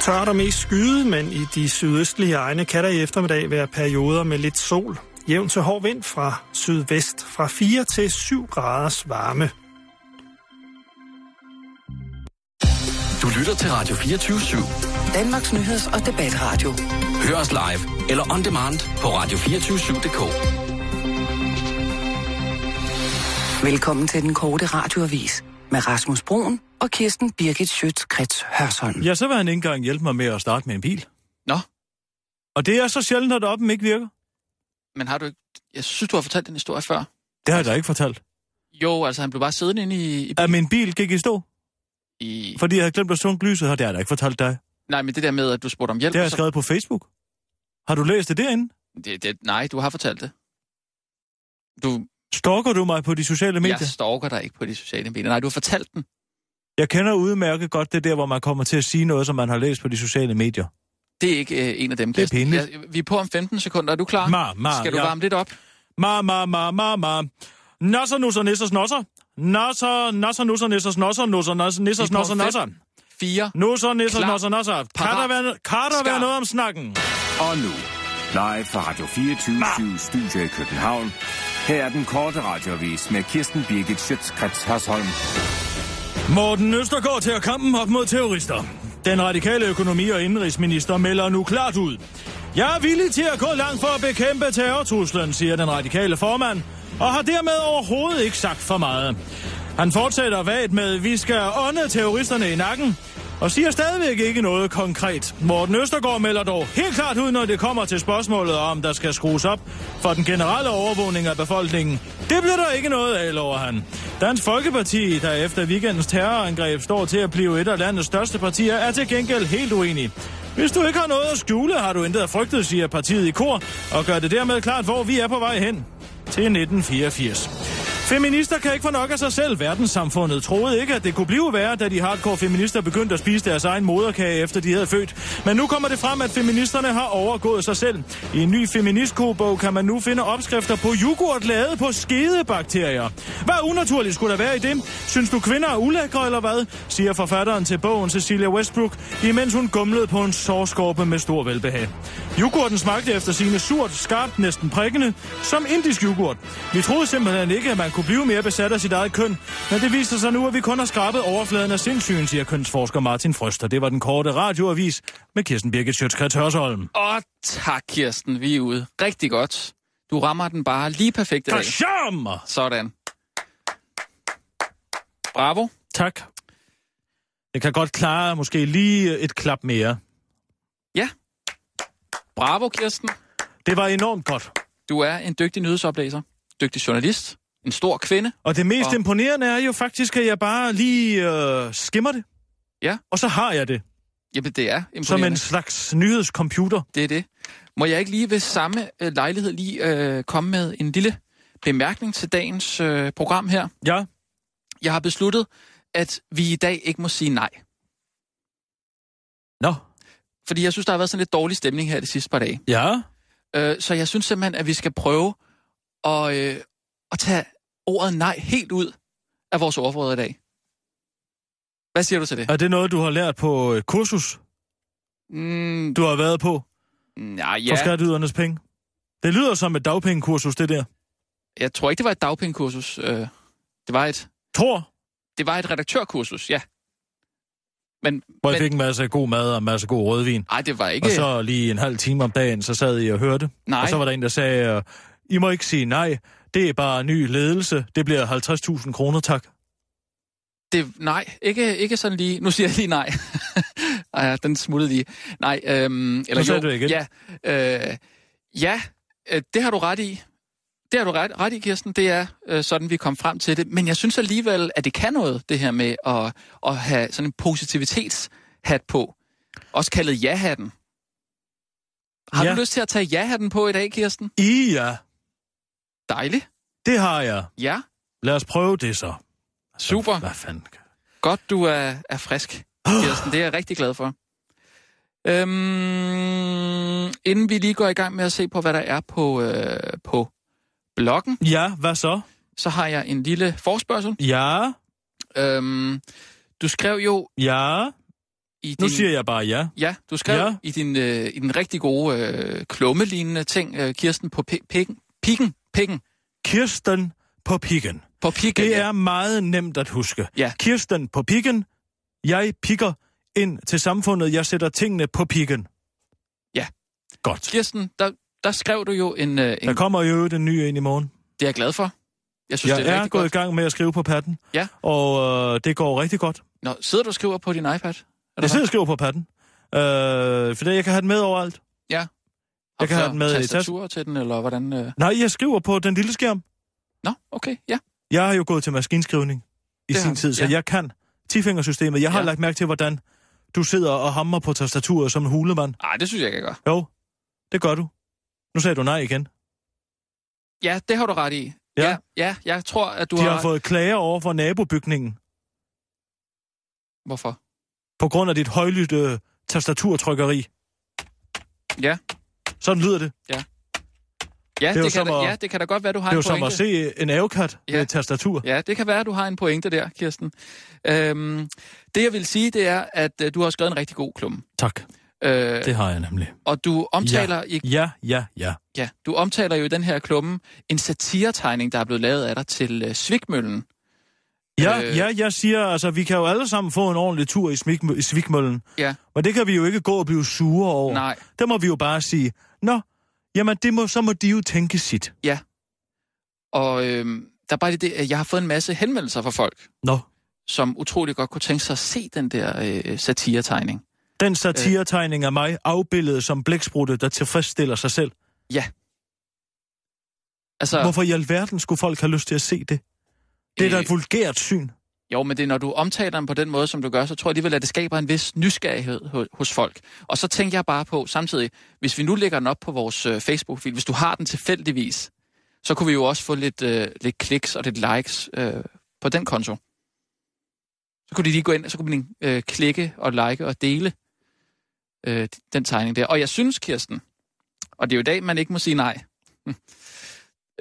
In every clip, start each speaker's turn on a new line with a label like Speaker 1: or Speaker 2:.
Speaker 1: Tørt og mest skyde, men i de sydøstlige egne kan der i eftermiddag være perioder med lidt sol. Jævn til hård vind fra sydvest fra 4 til 7 graders varme.
Speaker 2: Du lytter til Radio 24 /7.
Speaker 3: Danmarks Nyheds- og Debatradio.
Speaker 2: Hør os live eller on demand på radio247.dk.
Speaker 3: Velkommen til den korte radioavis med Rasmus Broen og Kirsten Birgit Schøtz-Krets Hørsholm.
Speaker 4: Ja, så vil han ikke engang hjælpe mig med at starte med en bil.
Speaker 5: Nå.
Speaker 4: Og det er så sjældent, at oppen ikke virker.
Speaker 5: Men har du ikke... Jeg synes, du har fortalt den historie før.
Speaker 4: Det har jeg da ikke fortalt.
Speaker 5: Jo, altså han blev bare siddende inde i... i,
Speaker 4: At min bil gik i stå,
Speaker 5: i
Speaker 4: fordi jeg havde glemt at slukke lyset, har det har jeg da ikke fortalt dig.
Speaker 5: nej, men det der med, at du spurgte om hjælp...
Speaker 4: Det har jeg
Speaker 5: og så-
Speaker 4: skrevet på Facebook. Har du læst det derinde?
Speaker 5: det, det, nej, du har fortalt det. Du,
Speaker 4: Stalker du mig på de sociale medier?
Speaker 5: jeg stalker dig ikke på de sociale medier. Nej, du har fortalt den.
Speaker 4: Jeg kender udmærket godt det der, hvor man kommer til at sige noget, som man har læst på de sociale medier.
Speaker 5: Det er ikke øh, en af dem.
Speaker 4: Det er
Speaker 5: Kirsten.
Speaker 4: pinligt.
Speaker 5: Jeg, vi er på om 15 sekunder. Er du klar?
Speaker 4: Ma, ma,
Speaker 5: Skal du
Speaker 4: ja.
Speaker 5: varme lidt op?
Speaker 4: Ma, ma, ma, ma, ma. Nasser, nusser, nisser, snosser. Nasser, nasser, nusser, nisser, snosser, nusser, nasser, nisser,
Speaker 5: Vi er på
Speaker 4: snosser, nasser.
Speaker 5: 4.
Speaker 4: Nusser, nisser,
Speaker 5: Klar.
Speaker 4: snosser, nasser. Kan der
Speaker 5: Parat.
Speaker 4: være, kan der være
Speaker 5: Skarp.
Speaker 4: noget om snakken?
Speaker 6: Og nu, live fra Radio 24
Speaker 4: Ah.
Speaker 6: 7, Studio i København. Her er den korte radiovis med Kirsten Birgit Schøtzgrads Hasholm.
Speaker 4: Morten Østergaard tager kampen op mod terrorister. Den radikale økonomi- og indrigsminister melder nu klart ud. Jeg er villig til at gå langt for at bekæmpe terrortruslen, siger den radikale formand, og har dermed overhovedet ikke sagt for meget. Han fortsætter vagt med, vi skal ånde terroristerne i nakken, og siger stadigvæk ikke noget konkret. Morten Østergaard melder dog helt klart ud, når det kommer til spørgsmålet om, der skal skrues op for den generelle overvågning af befolkningen. Det bliver der ikke noget af, lover han. Dansk Folkeparti, der efter weekendens terrorangreb står til at blive et af landets største partier, er til gengæld helt uenig. Hvis du ikke har noget at skjule, har du intet at frygte, siger partiet i kor, og gør det dermed klart, hvor vi er på vej hen. Til 1984. Feminister kan ikke få nok af sig selv. Verdenssamfundet troede ikke, at det kunne blive værre, da de hardcore feminister begyndte at spise deres egen moderkage, efter de havde født. Men nu kommer det frem, at feministerne har overgået sig selv. I en ny feministkogebog kan man nu finde opskrifter på yoghurt lavet på skedebakterier. Hvad unaturligt skulle der være i det? Synes du kvinder er ulækre eller hvad? Siger forfatteren til bogen Cecilia Westbrook, imens hun gumlede på en sårskorpe med stor velbehag. Yoghurten smagte efter sine surt, skarpt, næsten prikkende, som indisk yoghurt. Vi troede simpelthen ikke, at man kunne blive mere besat af sit eget køn, men det viser sig nu, at vi kun har skrabet overfladen af sindssygen, siger kønsforsker Martin Frøster. Det var den korte radioavis med Kirsten Birgit Sjøtskrets Hørsholm.
Speaker 5: Åh, tak Kirsten. Vi er ude. Rigtig godt. Du rammer den bare lige perfekt i
Speaker 4: For
Speaker 5: dag.
Speaker 4: charme!
Speaker 5: Sådan. Bravo.
Speaker 4: Tak. Jeg kan godt klare måske lige et klap mere.
Speaker 5: Bravo, Kirsten.
Speaker 4: Det var enormt godt.
Speaker 5: Du er en dygtig nyhedsoplæser, dygtig journalist, en stor kvinde.
Speaker 4: Og det mest
Speaker 5: Og-
Speaker 4: og... imponerende er jo faktisk, at jeg bare lige øh, skimmer det.
Speaker 5: Ja.
Speaker 4: Og så har jeg det
Speaker 5: Jamen, det er
Speaker 4: som
Speaker 5: imponerende.
Speaker 4: en slags nyhedscomputer.
Speaker 5: Det er det. Må jeg ikke lige ved samme øh, lejlighed lige øh, komme med en lille bemærkning til dagens øh, program her?
Speaker 4: Ja.
Speaker 5: Jeg har besluttet, at vi i dag ikke må sige nej.
Speaker 4: Nå.
Speaker 5: Fordi jeg synes, der har været sådan lidt dårlig stemning her de sidste par dage.
Speaker 4: Ja.
Speaker 5: Øh, så jeg synes simpelthen, at vi skal prøve at, øh, at tage ordet nej helt ud af vores ordforråd i dag. Hvad siger du til det?
Speaker 4: Er det noget, du har lært på et kursus,
Speaker 5: Mm,
Speaker 4: du har været på
Speaker 5: nej,
Speaker 4: ja. for skatteydernes penge? Det lyder som et dagpengekursus, det der.
Speaker 5: Jeg tror ikke, det var et dagpengekursus. Øh, det, var et,
Speaker 4: Tror,
Speaker 5: det var et redaktørkursus, ja. Men,
Speaker 4: hvor jeg
Speaker 5: men
Speaker 4: fik en masse god mad og en masse god rødvin.
Speaker 5: ej, det var ikke...
Speaker 4: Og så lige en halv time om dagen, så sad I og hørte.
Speaker 5: nej,
Speaker 4: Og så var der en, der sagde, øh, I må ikke sige nej. Det er bare ny ledelse. Det bliver 50.000 kroner, tak.
Speaker 5: det, nej ikke, ikke sådan lige... Nu siger jeg lige nej. ej, ja, den smuttede lige. Nej, øhm, eller
Speaker 4: Nu sagde
Speaker 5: jo,
Speaker 4: du det igen.
Speaker 5: Ja, øh, ja øh, det har du ret i. Det har du ret, ret i, Kirsten. Det er øh, sådan, vi kom frem til det. Men jeg synes alligevel, at det kan noget, det her med at, at have sådan en positivitetshat på. Også kaldet ja-hatten. Har ja.
Speaker 4: Ja.
Speaker 5: du lyst til at tage ja-hatten på i dag, Kirsten?
Speaker 4: I ja,
Speaker 5: Dejligt.
Speaker 4: det har jeg.
Speaker 5: Ja.
Speaker 4: Lad os prøve det så.
Speaker 5: Super.
Speaker 4: Hvad fanden?
Speaker 5: Godt, du er, er frisk, Kirsten. Det er jeg rigtig glad for. Øhm, inden vi lige går i gang med at se på, hvad der er på, øh, på bloggen,
Speaker 4: Ja, hvad så?
Speaker 5: så har jeg en lille forspørgsel.
Speaker 4: Ja,
Speaker 5: Øhm, du skrev jo
Speaker 4: ja,
Speaker 5: i din...
Speaker 4: Nu siger jeg bare ja.
Speaker 5: Ja, du skrev
Speaker 4: Ja.
Speaker 5: ja. i, din, øh, i den rigtig gode øh, klummelignende ting, øh, Kirsten, på pi- pikken. Pikken. Pikken.
Speaker 4: Kirsten på pikken.
Speaker 5: På pikken.
Speaker 4: Det
Speaker 5: ja.
Speaker 4: er meget nemt at huske.
Speaker 5: Ja.
Speaker 4: Kirsten på pikken. Jeg pikker ind til samfundet. Jeg sætter tingene på pikken.
Speaker 5: Ja.
Speaker 4: Godt.
Speaker 5: Kirsten, der, der skrev du jo en... Øh, en
Speaker 4: Der kommer jo den nye ind i morgen.
Speaker 5: Det er jeg glad for. Jeg synes,
Speaker 4: Jeg
Speaker 5: det er,
Speaker 4: er,
Speaker 5: rigtig
Speaker 4: gået
Speaker 5: godt.
Speaker 4: i gang med at skrive på patten.
Speaker 5: Ja.
Speaker 4: Og øh, det går rigtig godt.
Speaker 5: Nå, sidder du og skriver på din iPad? Er
Speaker 4: Jeg sidder og skriver på patten. Øh, for det, jeg kan have den med overalt. jeg kan have den med i tasken.
Speaker 5: tastatur til den, eller hvordan? Øh...
Speaker 4: Nej, jeg skriver på den lille skærm.
Speaker 5: Nå, okay, ja.
Speaker 4: Jeg har jo gået til maskinskrivning i
Speaker 5: Det
Speaker 4: det
Speaker 5: har
Speaker 4: sin
Speaker 5: du,
Speaker 4: tid, så
Speaker 5: ja.
Speaker 4: jeg kan tifingersystemet. Jeg har ja.
Speaker 5: Ja.
Speaker 4: lagt mærke til, hvordan du sidder og hammer på tastaturet som en hulemand.
Speaker 5: Nej, det synes jeg ikke, jeg gør.
Speaker 4: Jo, det gør du. Nu sagde du nej igen.
Speaker 5: Ja, det har du ret i.
Speaker 4: Ja.
Speaker 5: ja, ja jeg tror, at du
Speaker 4: De
Speaker 5: har...
Speaker 4: har fået klager over for nabobygningen
Speaker 5: Hvorfor?
Speaker 4: på grund af dit højlytte tastaturtrykkeri.
Speaker 5: Ja.
Speaker 4: Sådan lyder det.
Speaker 5: Ja
Speaker 4: er
Speaker 5: det,
Speaker 4: jo
Speaker 5: det
Speaker 4: som
Speaker 5: kan da,
Speaker 4: at-
Speaker 5: ja, det kan da godt være, du har
Speaker 4: Det er jo
Speaker 5: en
Speaker 4: som
Speaker 5: pointe.
Speaker 4: at se øh, en avokat ja.
Speaker 5: Ja.
Speaker 4: med et tastatur.
Speaker 5: Ja, det kan være, at du har en pointe der, Kirsten. Øhm, det, jeg vil sige, det er, at øh, du har skrevet en rigtig god klumme.
Speaker 4: Tak,
Speaker 5: Øh,
Speaker 4: det har jeg nemlig.
Speaker 5: og du omtaler, ja. I,
Speaker 4: Ja, ja, ja.
Speaker 5: ja, du omtaler jo i den her klumme en satiretegning, der er blevet lavet af dig til øh, Svigmøllen.
Speaker 4: Ja,
Speaker 5: Øh.
Speaker 4: ja, jeg siger, altså, vi kan jo alle sammen få en ordentlig tur i, smik- i svigmøllen.
Speaker 5: Ja.
Speaker 4: Men det kan vi jo ikke gå og blive sure over.
Speaker 5: Nej.
Speaker 4: Der må vi jo bare sige, nå, jamen, det må, så må de jo tænke sit.
Speaker 5: Og øh, der er bare lige det, at jeg har fået en masse henvendelser fra folk,
Speaker 4: Nå.
Speaker 5: som utrolig godt kunne tænke sig at se den der øh, satiretegning.
Speaker 4: Den satiretegning af mig, afbildet som blæksprutte, der tilfredsstiller sig selv.
Speaker 5: Altså,
Speaker 4: Hvorfor i alverden skulle folk have lyst til at se det? Det er da
Speaker 5: Øh.
Speaker 4: et vulgært syn.
Speaker 5: Jo, men det er, når du omtaler den på den måde, som du gør, så tror jeg alligevel, at det skaber en vis nysgerrighed ho- hos folk. Og så tænker jeg bare på, samtidig, hvis vi nu lægger den op på vores øh, Facebook-fil, hvis du har den tilfældigvis, så kunne vi jo også få lidt, øh, lidt kliks og lidt likes øh, på den konto. Så kunne de lige gå ind, og så kunne man øh, klikke og like og dele øh, den tegning der. Og jeg synes, Kirsten, og det er jo i dag, man ikke må sige nej.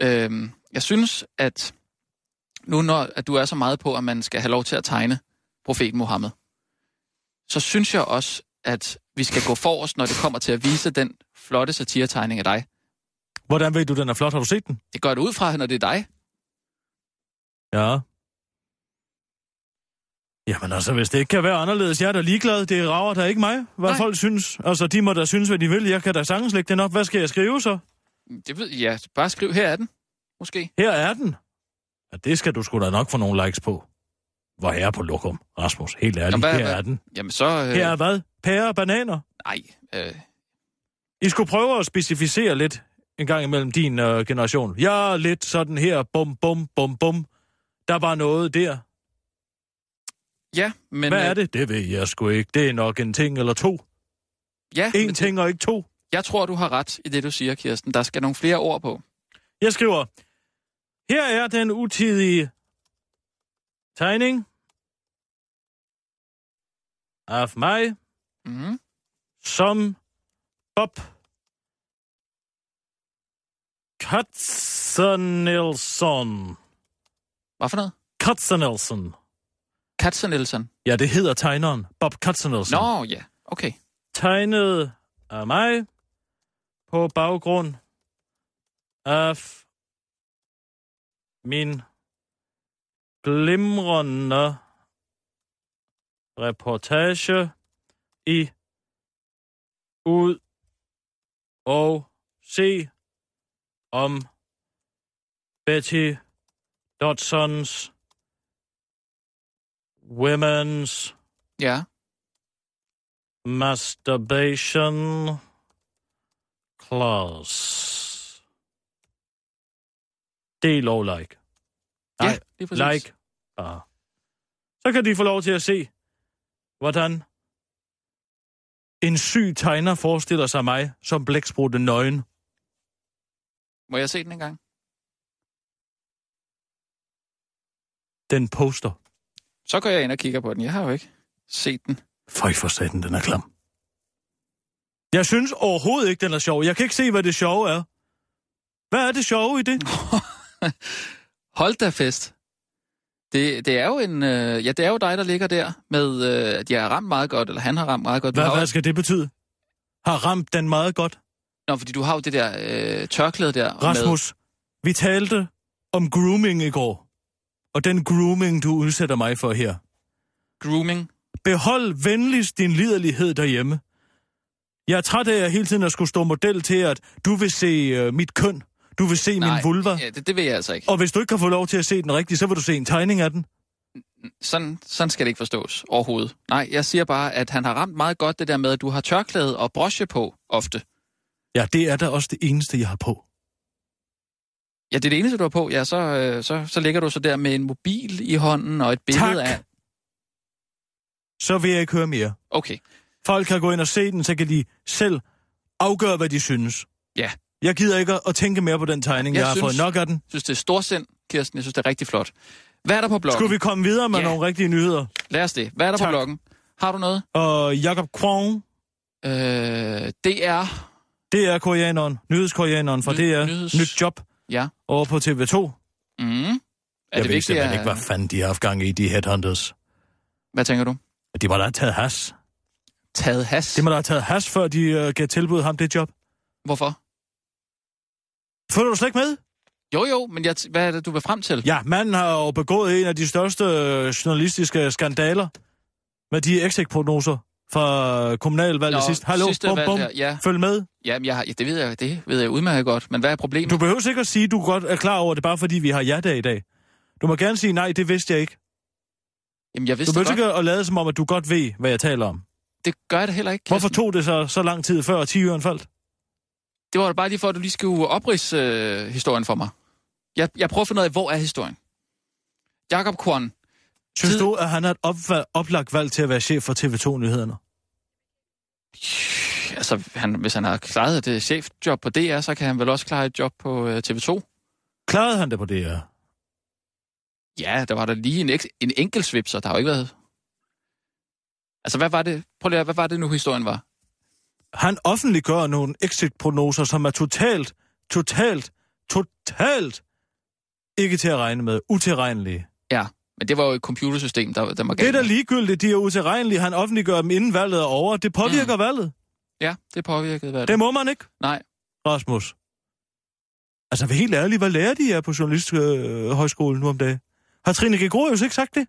Speaker 5: øhm, jeg synes, at nu når at du er så meget på, at man skal have lov til at tegne profeten Mohammed, så synes jeg også, at vi skal gå forrest, når det kommer til at vise den flotte satiretegning af dig.
Speaker 4: Hvordan ved du, den er flot? Har du set den?
Speaker 5: Det gør det ud fra, når det er dig.
Speaker 4: Ja. Jamen altså, hvis det ikke kan være anderledes, jeg er da ligeglad. Det rager da ikke mig, hvad Nej.
Speaker 5: Nej.
Speaker 4: folk synes. Altså, de må da synes, hvad de vil. Jeg kan da sagtens lægge den op. Hvad skal jeg skrive så?
Speaker 5: Det ved jeg. Bare skriv, her er den. Måske.
Speaker 4: Her er den. Ja, det skal du sgu da nok få nogle likes på. Hvor herre på lokum, Rasmus. Helt ærligt,
Speaker 5: Jamen, hvad-
Speaker 4: her
Speaker 5: hvad-
Speaker 4: er den.
Speaker 5: Jamen så... Øh,
Speaker 4: Her er hvad? Pære og bananer.
Speaker 5: Nej. Øh,
Speaker 4: I skulle prøve at specificere lidt en gang imellem din øh, generation. Jeg er lidt sådan her, bum, bum, bum, bum. Der var noget der.
Speaker 5: ja, men...
Speaker 4: Hvad er
Speaker 5: øh,
Speaker 4: det? Det ved jeg sgu ikke. Det er nok en ting eller to.
Speaker 5: Ja, men
Speaker 4: En ting og ikke to.
Speaker 5: jeg tror, du har ret i det, du siger, Kirsten. Der skal nogle flere ord på.
Speaker 4: Jeg skriver, her er den utidige tegning af mig
Speaker 5: Mm-hmm.
Speaker 4: som Bob Katzenelson.
Speaker 5: Hvad for noget?
Speaker 4: Katzenelson.
Speaker 5: Katzenelsen.
Speaker 4: Ja, det hedder tegneren. Bob Katzenelson.
Speaker 5: Nå, ja. Okay.
Speaker 4: Tegnet af mig på baggrund af min glimrende reportage i Ud og se om Betty Dodsons Women's
Speaker 5: Ja.
Speaker 4: Masturbation class. Del og like. Nej,
Speaker 5: ja, lige præcis.
Speaker 4: Like. Bare. Så kan de få lov til at se, hvordan en syg tegner forestiller sig mig som blæksprutte nøgen.
Speaker 5: Må jeg se den en gang?
Speaker 4: Den poster.
Speaker 5: Så går jeg ind og kigger på den. Jeg har jo ikke set den.
Speaker 4: Føj for satan, den er klam. Jeg synes overhovedet ikke, den er sjov. Jeg kan ikke se, hvad det sjove er. Hvad er det sjove i det?
Speaker 5: Hold da fest. Det, det er jo en, øh, ja, det er jo dig, der ligger der med, øh, at jeg har ramt meget godt, eller han har ramt meget godt. Du
Speaker 4: Hvad,
Speaker 5: har jo-
Speaker 4: hvad skal det betyde? Har ramt den meget godt.
Speaker 5: Nå, fordi du har jo det der øh, tørklæde der.
Speaker 4: Rasmus, vi talte om grooming i går. Og den grooming, du udsætter mig for her.
Speaker 5: Med grooming.
Speaker 4: Behold venligst din liderlighed derhjemme. Jeg er træt af, at jeg hele tiden at skulle stå model til, at du vil se øh, mit køn. Du vil se
Speaker 5: Nej,
Speaker 4: min vulva.
Speaker 5: Ja, det, det vil jeg altså ikke.
Speaker 4: Og hvis du ikke kan få lov til at se den rigtigt, så vil du se en tegning af den.
Speaker 5: Sådan, sådan skal det ikke forstås overhovedet. Nej, jeg siger bare, at han har ramt meget godt det der med, at du har tørklæde og broche på ofte.
Speaker 4: Ja, det er da også det eneste, jeg har på.
Speaker 5: Ja, det er det eneste, du har på. Ja, så, øh, så, så ligger du så der med en mobil i hånden og et billede
Speaker 4: Tak.
Speaker 5: af...
Speaker 4: Så vil jeg ikke høre mere.
Speaker 5: Okay,
Speaker 4: Folk kan gå ind og se den, så kan de selv afgøre, hvad de synes.
Speaker 5: Ja.
Speaker 4: Jeg gider ikke at- at tænke mere på den tegning, jeg,
Speaker 5: Jeg
Speaker 4: jeg har
Speaker 5: synes-
Speaker 4: fået nok af den.
Speaker 5: jeg synes, det er storsind, Kirsten. Jeg synes, det er rigtig flot. Hvad er der på bloggen?
Speaker 4: Skulle vi komme videre med
Speaker 5: Ja.
Speaker 4: nogle rigtige nyheder?
Speaker 5: Lad os det. Hvad er der tak.
Speaker 4: Tak.
Speaker 5: på bloggen? Har du noget?
Speaker 4: Og Jakob Kwong,
Speaker 5: Øh, det er...
Speaker 4: det er koreaneren, nyhedskoreaneren fra
Speaker 5: Ny-
Speaker 4: DR,
Speaker 5: nyheds-
Speaker 4: nyt job
Speaker 5: Ja.
Speaker 4: over på TV2.
Speaker 5: Mm. Er
Speaker 4: jeg ved
Speaker 5: vigtigt,
Speaker 4: simpelthen
Speaker 5: at-
Speaker 4: ikke, hvad fanden de har haft gang i, de headhunters.
Speaker 5: Hvad tænker du?
Speaker 4: De må da have taget has.
Speaker 5: Taget has?
Speaker 4: De må da have taget has, før de øh, gav tilbud ham det job.
Speaker 5: Hvorfor?
Speaker 4: Følger du slet ikke med?
Speaker 5: Jo, jo, men jeg t- hvad er det, du vil frem til?
Speaker 4: Ja, manden har jo begået en af de største øh, journalistiske skandaler med de exit-prognoser fra kommunalvalget
Speaker 5: Nå,
Speaker 4: sidst. Hallo,
Speaker 5: sidste
Speaker 4: bum,
Speaker 5: valg
Speaker 4: bum.
Speaker 5: der, ja.
Speaker 4: Følg med.
Speaker 5: Jamen, jeg, har- ja, det ved jeg, det ved jeg udmærket godt. Men hvad er problemet?
Speaker 4: Du behøver sikkert sige, at du godt er klar over det, bare fordi vi har ja-dag i dag. Du må gerne sige, nej, det vidste jeg ikke.
Speaker 5: Jamen, jeg
Speaker 4: Du
Speaker 5: vidste det
Speaker 4: behøver
Speaker 5: godt.
Speaker 4: ikke at lade som om, at du godt ved, hvad jeg taler om.
Speaker 5: Det gør jeg da heller ikke.
Speaker 4: Hvorfor
Speaker 5: Kirsten.
Speaker 4: tog det så, så lang tid før 10 øren faldt?
Speaker 5: Det var da bare lige for, at du lige skulle oprids øh, historien for mig. Jeg, jeg prøver at finde ud af, hvor er historien? Jakob Korn.
Speaker 4: Synes
Speaker 5: Tid-
Speaker 4: du, at han har et opva- oplagt valg til at være chef for TV2-nyhederne?
Speaker 5: Altså, han, hvis han har klaret et øh, chefjob på DR, så kan han vel også klare et job på øh, TV2?
Speaker 4: Klarede han det på det her?
Speaker 5: Ja, der var der lige en, eks- en enkelt svipser, der har jo ikke været... Altså, hvad var det? Prøv lige, at- hvad var det nu, historien var?
Speaker 4: Han offentliggør nogle exit-prognoser, som er totalt, totalt, totalt ikke til at regne med. Utilregnelige.
Speaker 5: Ja, men det var jo et computersystem, der, der var
Speaker 4: Det er
Speaker 5: galt.
Speaker 4: da
Speaker 5: med.
Speaker 4: ligegyldigt, de er utilregnelige. Han offentliggør dem, inden valget er over. Det påvirker mm. valget.
Speaker 5: Ja, det påvirkede hvad
Speaker 4: Det må man ikke,
Speaker 5: Nej,
Speaker 4: Rasmus. Altså, vær helt ærlig, hvad lærer de jer på Journalisthøjskolen nu om dagen? Har Trine Gregorius ikke sagt det?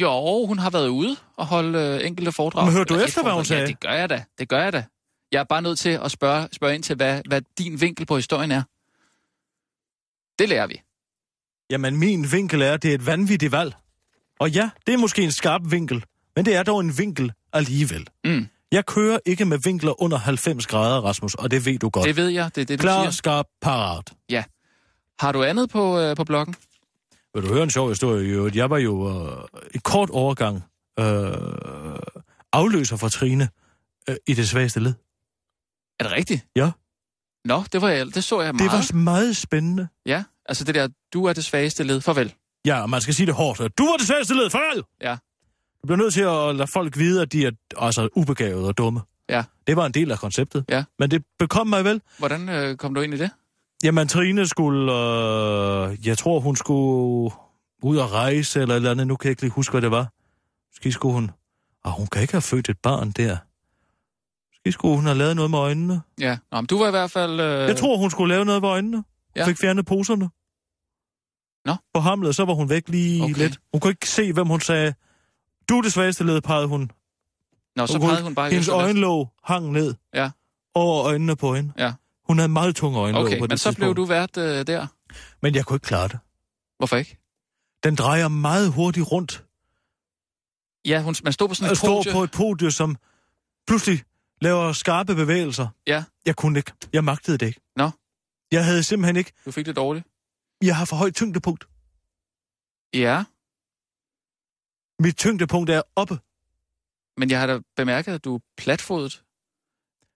Speaker 5: Jo, hun har været ude og holde øh, enkelte foredrag.
Speaker 4: Men hørte du
Speaker 5: Eller et
Speaker 4: efter, hvad hun sagde?
Speaker 5: foredrag. Ja, det gør jeg da. Det gør jeg da. Jeg er bare nødt til at spørge, spørge ind til, hvad, hvad din vinkel på historien er. Det lærer vi.
Speaker 4: Jamen, min vinkel er, at det er et vanvittigt valg. Og ja, det er måske en skarp vinkel, men det er dog en vinkel alligevel.
Speaker 5: Mm.
Speaker 4: Jeg kører ikke med vinkler under 90 grader, Rasmus, og det ved du godt.
Speaker 5: Det ved jeg. Det er det, du
Speaker 4: Klar,
Speaker 5: siger.
Speaker 4: skarp, parat.
Speaker 5: Har du andet på, øh, på bloggen?
Speaker 4: Vil du høre en sjov historie? i øvrigt? Jeg var jo øh, en kort overgang øh, afløser for Trine øh, i det svageste led.
Speaker 5: Er det rigtigt?
Speaker 4: Ja.
Speaker 5: Nå, det, var jeg, det så jeg
Speaker 4: Det
Speaker 5: meget.
Speaker 4: var meget spændende.
Speaker 5: Ja, altså det der, du er det svageste led. Farvel.
Speaker 4: Ja, og man skal sige det hårdt. Du var det svageste led, farvel!
Speaker 5: Ja.
Speaker 4: Du bliver nødt til at lade folk vide, at de er altså, ubegavede og dumme.
Speaker 5: Ja.
Speaker 4: Det var en del af konceptet.
Speaker 5: Ja.
Speaker 4: Men det bekom mig vel.
Speaker 5: Hvordan øh, kom du ind i det?
Speaker 4: Jamen, Trine skulle... Øh, jeg tror, hun skulle ud og rejse eller et eller andet. Nu kan jeg ikke lige huske, hvad det var. Måske skulle hun... Ah, hun kan ikke have født et barn der. Måske skulle hun have lavet noget med øjnene.
Speaker 5: Ja, Nå, men du var i hvert fald... Øh...
Speaker 4: Øh. Jeg tror, hun skulle lave noget med øjnene.
Speaker 5: Ja.
Speaker 4: Ja. Fik fjernet poserne.
Speaker 5: Nå.
Speaker 4: På hamlet, så var hun væk lige
Speaker 5: Okay.
Speaker 4: okay. lidt. Hun kunne ikke se, hvem hun sagde. Du er det svageste led, pegede hun.
Speaker 5: Nå, så
Speaker 4: hun kunne
Speaker 5: pegede
Speaker 4: ikke-
Speaker 5: hun bare... i
Speaker 4: Hendes
Speaker 5: øst og vest.
Speaker 4: øjenlåg hang ned
Speaker 5: Ja.
Speaker 4: over øjnene på hende.
Speaker 5: Ja.
Speaker 4: Hun havde meget tunge øjenlåg
Speaker 5: Okay,
Speaker 4: på det
Speaker 5: men så blev
Speaker 4: tidspunkt.
Speaker 5: du vært øh, der.
Speaker 4: Men jeg kunne ikke klare det.
Speaker 5: Hvorfor ikke?
Speaker 4: Den drejer meget hurtigt rundt
Speaker 5: Ja, hun, man stod på sådan
Speaker 4: og
Speaker 5: et
Speaker 4: står
Speaker 5: podie.
Speaker 4: på et podie, som pludselig laver skarpe bevægelser.
Speaker 5: Ja.
Speaker 4: Jeg kunne ikke. Jeg magtede det ikke.
Speaker 5: Nå.
Speaker 4: Jeg havde simpelthen ikke.
Speaker 5: Du fik det dårligt.
Speaker 4: Jeg har for højt tyngdepunkt.
Speaker 5: Ja,
Speaker 4: Mit tyngdepunkt er oppe.
Speaker 5: men jeg har da bemærket, at du er platfodet.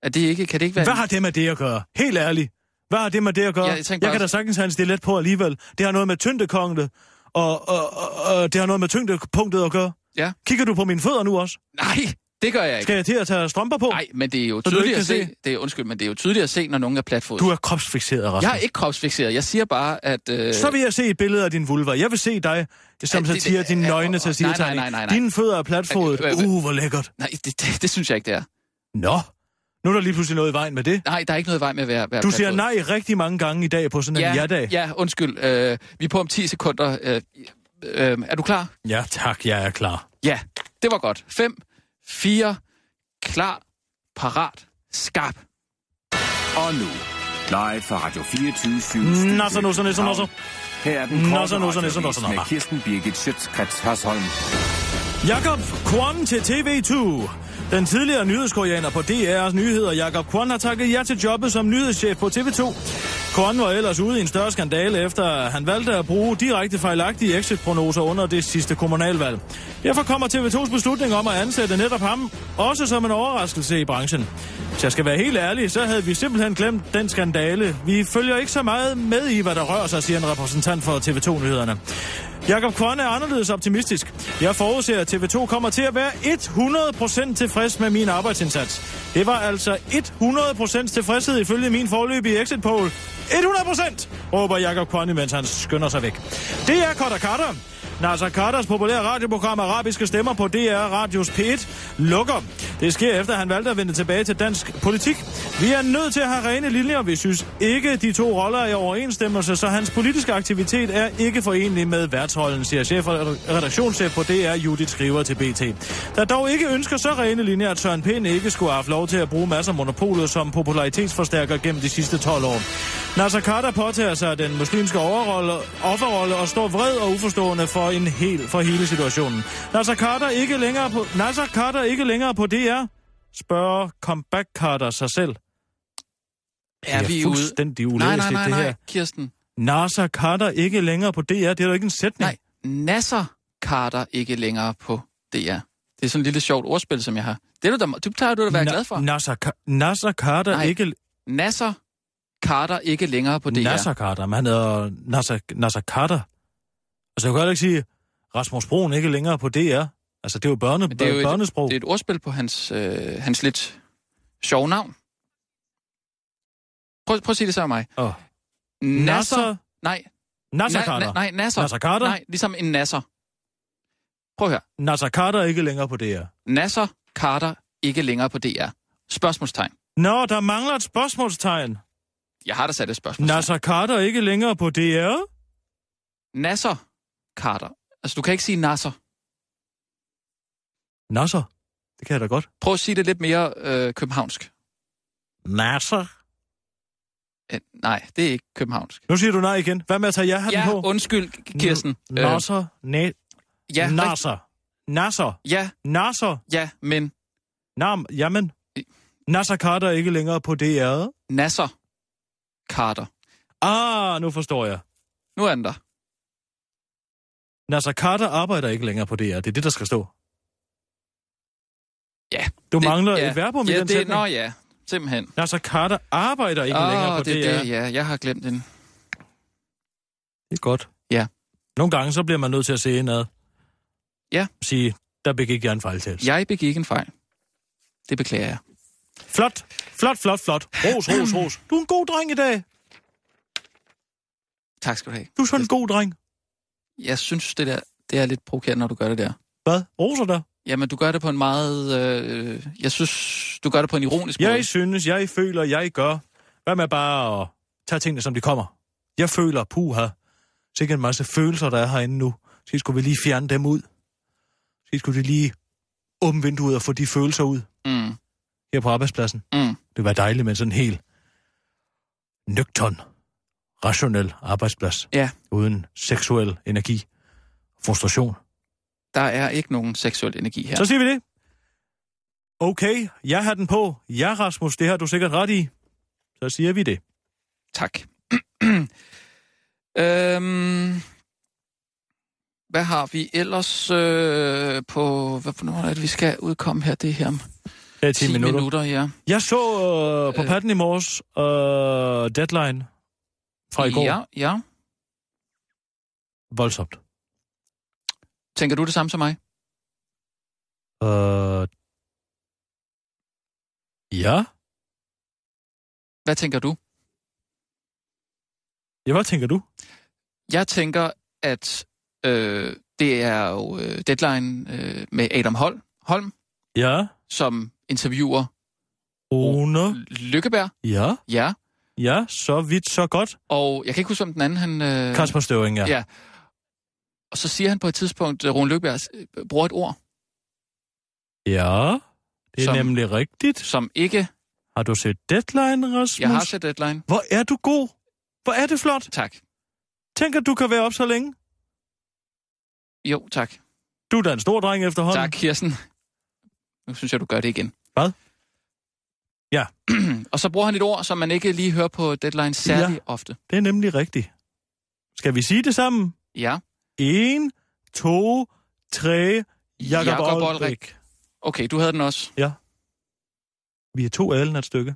Speaker 5: Er det ikke, kan det ikke være...
Speaker 4: Hvad har det med det at gøre? Helt ærligt. Hvad har det med det at gøre?
Speaker 5: Ja, jeg
Speaker 4: jeg,
Speaker 5: tænkte bare-
Speaker 4: jeg kan da sagtens have en stilet på alligevel. Det har noget med tyngdepunktet og, og, og, og det har noget med tyngdepunktet at gøre.
Speaker 5: Ja.
Speaker 4: Kigger du på mine fødder nu også?
Speaker 5: Nej, Det gør jeg ikke.
Speaker 4: Skal jeg til at tage strømper på?
Speaker 5: Nej, men det er jo
Speaker 4: du ikke
Speaker 5: tydeligt
Speaker 4: kan
Speaker 5: at se.
Speaker 4: se?
Speaker 5: Det er, undskyld, men det er jo tydeligt at se, når nogen er platfod.
Speaker 4: Du er kropsfixeret, Rasmus.
Speaker 5: Jeg er ikke kropsfixeret. Jeg siger bare, at... Øh,
Speaker 4: Så vil jeg se et billede af din vulva. Jeg vil se dig, som
Speaker 5: Ja, det-
Speaker 4: satire,
Speaker 5: det-
Speaker 4: dine
Speaker 5: ja,
Speaker 4: nøgne
Speaker 5: og- og-
Speaker 4: satire
Speaker 5: nej, nej, nej, nej.
Speaker 4: Dine fødder er platfodet.
Speaker 5: Øh, øh, øh.
Speaker 4: Uh, hvor lækkert.
Speaker 5: Nej, det, det, det synes jeg ikke, det er.
Speaker 4: Nå, nu er der lige pludselig noget i vejen med det.
Speaker 5: Nej, der er ikke noget vej med at være, være
Speaker 4: Du siger
Speaker 5: platfod.
Speaker 4: nej rigtig mange gange i dag på sådan en
Speaker 5: Ja,
Speaker 4: ja-dag.
Speaker 5: ja, undskyld. Øh, vi er på om 10 sekunder. Øh, øh, er du klar?
Speaker 4: Ja, tak, jeg er klar.
Speaker 5: Ja, det var godt. 5, 4, klar, parat, skarp.
Speaker 6: Og nu, live fra Radio 24 7,
Speaker 4: Nasser, nusser, nisser, nusser.
Speaker 6: Her er den
Speaker 4: Nasser,
Speaker 6: korte
Speaker 4: nusser, nisser,
Speaker 6: radioavis
Speaker 4: nusser,
Speaker 6: med
Speaker 4: nusser.
Speaker 6: Kirsten Birgit Schøtzgrads Hasholm.
Speaker 4: Jakob Kwon til TV2. Den tidligere nyhedskoreaner på DR's nyheder, Jakob Kwon, har takket ja til jobbet som nyhedschef på TV2. Kwon var ellers ude i en større skandale, efter at han valgte at bruge direkte fejlagtige exitprognoser under det sidste kommunalvalg. Derfor kommer TV2's beslutning om at ansætte netop ham, også som en overraskelse i branchen. Hvis jeg skal være helt ærlig, så havde vi simpelthen glemt den skandale. Vi følger ikke så meget med i, hvad der rører sig, siger en repræsentant for TV2-nyhederne. Jakob Kvon er anderledes optimistisk. Jeg forudser, at TV2 kommer til at være 100% tilfreds med min arbejdsindsats. Det var altså 100% tilfredshed ifølge min forløbige exit poll. 100%! råber Jakob Kvon, mens han skynder sig væk. Det er Kotter Katter. Nasser Khaders populære radioprogram Arabiske Stemmer på DR Radios P1 lukker. Det sker efter, at han valgte at vende tilbage til dansk politik. Vi er nødt til at have rene linjer. Vi synes ikke, de to roller er i overensstemmelse, så hans politiske aktivitet er ikke forenlig med værtsholden, siger chef redaktionschef på DR Judith Skriver til BT. Der dog ikke ønsker så rene linjer, at Søren Pind ikke skulle have haft lov til at bruge masser af monopolet som popularitetsforstærker gennem de sidste 12 år. Nasser Kader påtager sig den muslimske overrolle, offerrolle og står vred og uforstående for, en hel, for hele situationen. Nasser Kader ikke længere på, Nasser Kader ikke længere på DR, spørger comeback Kader sig selv.
Speaker 5: Er,
Speaker 4: det er
Speaker 5: vi ude?
Speaker 4: fuldstændig
Speaker 5: Nej, nej,
Speaker 4: ulæseligt,
Speaker 5: nej,
Speaker 4: det
Speaker 5: nej,
Speaker 4: her.
Speaker 5: Kirsten.
Speaker 4: Nasser Kader ikke længere på DR, det er jo ikke en sætning.
Speaker 5: Nej, Nasser Carter ikke længere på DR. Det er sådan et lille sjovt ordspil, som jeg har. Det er du da, du plejer du da at være
Speaker 4: Na-
Speaker 5: glad for.
Speaker 4: Nasser, Ka- Nasser Kader
Speaker 5: Nej,
Speaker 4: ikke...
Speaker 5: Nasser Carter ikke længere på DR.
Speaker 4: Nasser Carter, men han hedder Nasser, Nasser Carter. Altså, jeg kan godt ikke sige, Rasmus Broen ikke længere på DR. Altså, det er jo, børne,
Speaker 5: Men det er jo et-
Speaker 4: børnesprog.
Speaker 5: Det er et ordspil på hans, øh, hans lidt sjove navn. Prøv, prøv at sige det sammen med mig.
Speaker 4: Åh.
Speaker 5: Nasser? Nej.
Speaker 4: Nasser
Speaker 5: na-
Speaker 4: Carter.
Speaker 5: na- Nej, Nasser.
Speaker 4: Nasser Carter?
Speaker 5: Nej, ligesom en Nasser. Prøv at høre.
Speaker 4: Nasser Carter er ikke længere på DR.
Speaker 5: Nasser Carter ikke længere på DR. Spørgsmålstegn.
Speaker 4: Nå, der mangler et spørgsmålstegn.
Speaker 5: Jeg har da sat et spørgsmålstegn.
Speaker 4: Nasser Carter er ikke længere på DR?
Speaker 5: Nasser Carter. Altså, du kan ikke sige Nasser.
Speaker 4: Nasser. Det kan jeg da godt.
Speaker 5: Prøv at sige det lidt mere øh, københavnsk.
Speaker 4: Nasser.
Speaker 5: Øh, nej, det er ikke københavnsk.
Speaker 4: Nu siger du nej igen. Hvad med at tage ja-hatten
Speaker 5: Ja,
Speaker 4: på?
Speaker 5: undskyld, Kirsten. Øh,
Speaker 4: N- Nasser. Næ-
Speaker 5: ja, rigt-
Speaker 4: Nasser. Nasser.
Speaker 5: ja,
Speaker 4: Nasser.
Speaker 5: ja, men
Speaker 4: Nam. Jamen. Nasser Carter er ikke længere på DR.
Speaker 5: Nasser Carter.
Speaker 4: Ah, nu forstår jeg.
Speaker 5: Nu er den der.
Speaker 4: Nasser Carter arbejder ikke længere på DR. Det er det, der skal stå.
Speaker 5: Ja,
Speaker 4: Du
Speaker 5: det-
Speaker 4: mangler
Speaker 5: ja.
Speaker 4: et verbum i
Speaker 5: ja,
Speaker 4: den
Speaker 5: det,
Speaker 4: sætning.
Speaker 5: Nå ja, simpelthen.
Speaker 4: Nasser Carter arbejder ikke
Speaker 5: Åh,
Speaker 4: længere på
Speaker 5: det
Speaker 4: DR.
Speaker 5: er det, ja. Jeg har glemt den.
Speaker 4: Det er godt.
Speaker 5: Ja.
Speaker 4: Nogle gange så bliver man nødt til at se indad.
Speaker 5: Ja.
Speaker 4: Sige, der begik jeg en fejltagelse. Ja.
Speaker 5: Jeg begik en fejl. Det beklager jeg.
Speaker 4: Flot, flot, flot, flot. Ros, ros, ros. Du er en god dreng i dag.
Speaker 5: Tak skal du have.
Speaker 4: Du er sådan en god dreng.
Speaker 5: Jeg synes, det der det er lidt provokerende, når du gør det der.
Speaker 4: Hvad? Roser dig?
Speaker 5: Jamen, du gør det på en meget... Øh, jeg synes, du gør det på en ironisk måde.
Speaker 4: Jeg synes, jeg føler, jeg gør. Hvad med bare at tage tingene, som de kommer? Jeg føler, puha. Sikkert en masse følelser, der er herinde nu. Så skulle vi lige fjerne dem ud. Så skulle vi lige åbne vinduet og få de følelser ud
Speaker 5: Mm,
Speaker 4: her på arbejdspladsen.
Speaker 5: mm.
Speaker 4: Det var dejligt med sådan en helt nøgtern, rationel arbejdsplads.
Speaker 5: Ja.
Speaker 4: Uden seksuel energi, frustration.
Speaker 5: Der er ikke nogen seksuel energi her.
Speaker 4: Ja. Så siger vi det. Okay, jeg har den på. Ja, Rasmus, det har du sikkert ret i. Så siger vi det.
Speaker 5: Tak. øhm, hvad har vi ellers øh, på... Hvad for noget er det, vi skal udkomme her? Det er her om
Speaker 4: Det er 10,
Speaker 5: 10 minutter. minutter ja.
Speaker 4: Jeg så øh, på øh.
Speaker 5: Øh.
Speaker 4: patten i morges øh, Deadline fra i går.
Speaker 5: Ja, ja.
Speaker 4: Voldsomt.
Speaker 5: Tænker du det samme som mig?
Speaker 4: Øh, Ja?
Speaker 5: Hvad tænker du?
Speaker 4: Ja, hvad tænker du?
Speaker 5: Jeg tænker, at øh, det er jo øh, deadline øh, med Adam Holm, Holm,
Speaker 4: Ja?
Speaker 5: som interviewer
Speaker 4: Rune?
Speaker 5: Lykkeberg.
Speaker 4: Ja?
Speaker 5: Ja,
Speaker 4: Ja, så vidt, så godt.
Speaker 5: og jeg kan ikke huske, om den anden han... Øh,
Speaker 4: Kasper Støvring, ja.
Speaker 5: Ja. Og så siger han på et tidspunkt, at Rune Lykkeberg øh, bruger et ord,
Speaker 4: Ja, det er
Speaker 5: Som-
Speaker 4: nemlig rigtigt.
Speaker 5: som ikke...
Speaker 4: Har du set Deadline, Rasmus?
Speaker 5: Jeg har set deadline.
Speaker 4: Hvor er du god? Hvor er det flot?
Speaker 5: Tak.
Speaker 4: Tænk, at du kan være op så længe.
Speaker 5: Jo, tak.
Speaker 4: Du er da en stor dreng efterhånden.
Speaker 5: Tak, Kirsten. Nu synes jeg, du gør det igen.
Speaker 4: Hvad? Ja.
Speaker 5: og så bruger han et ord, som man ikke lige hører på deadline særlig ja. ofte.
Speaker 4: Det er nemlig rigtigt. Skal vi sige det sammen?
Speaker 5: Ja,
Speaker 4: En, to, tre, Jakob,
Speaker 5: Jakob
Speaker 4: Jakob
Speaker 5: Olrik. okay, du havde den også.
Speaker 4: Vi er to adlen af et stykke.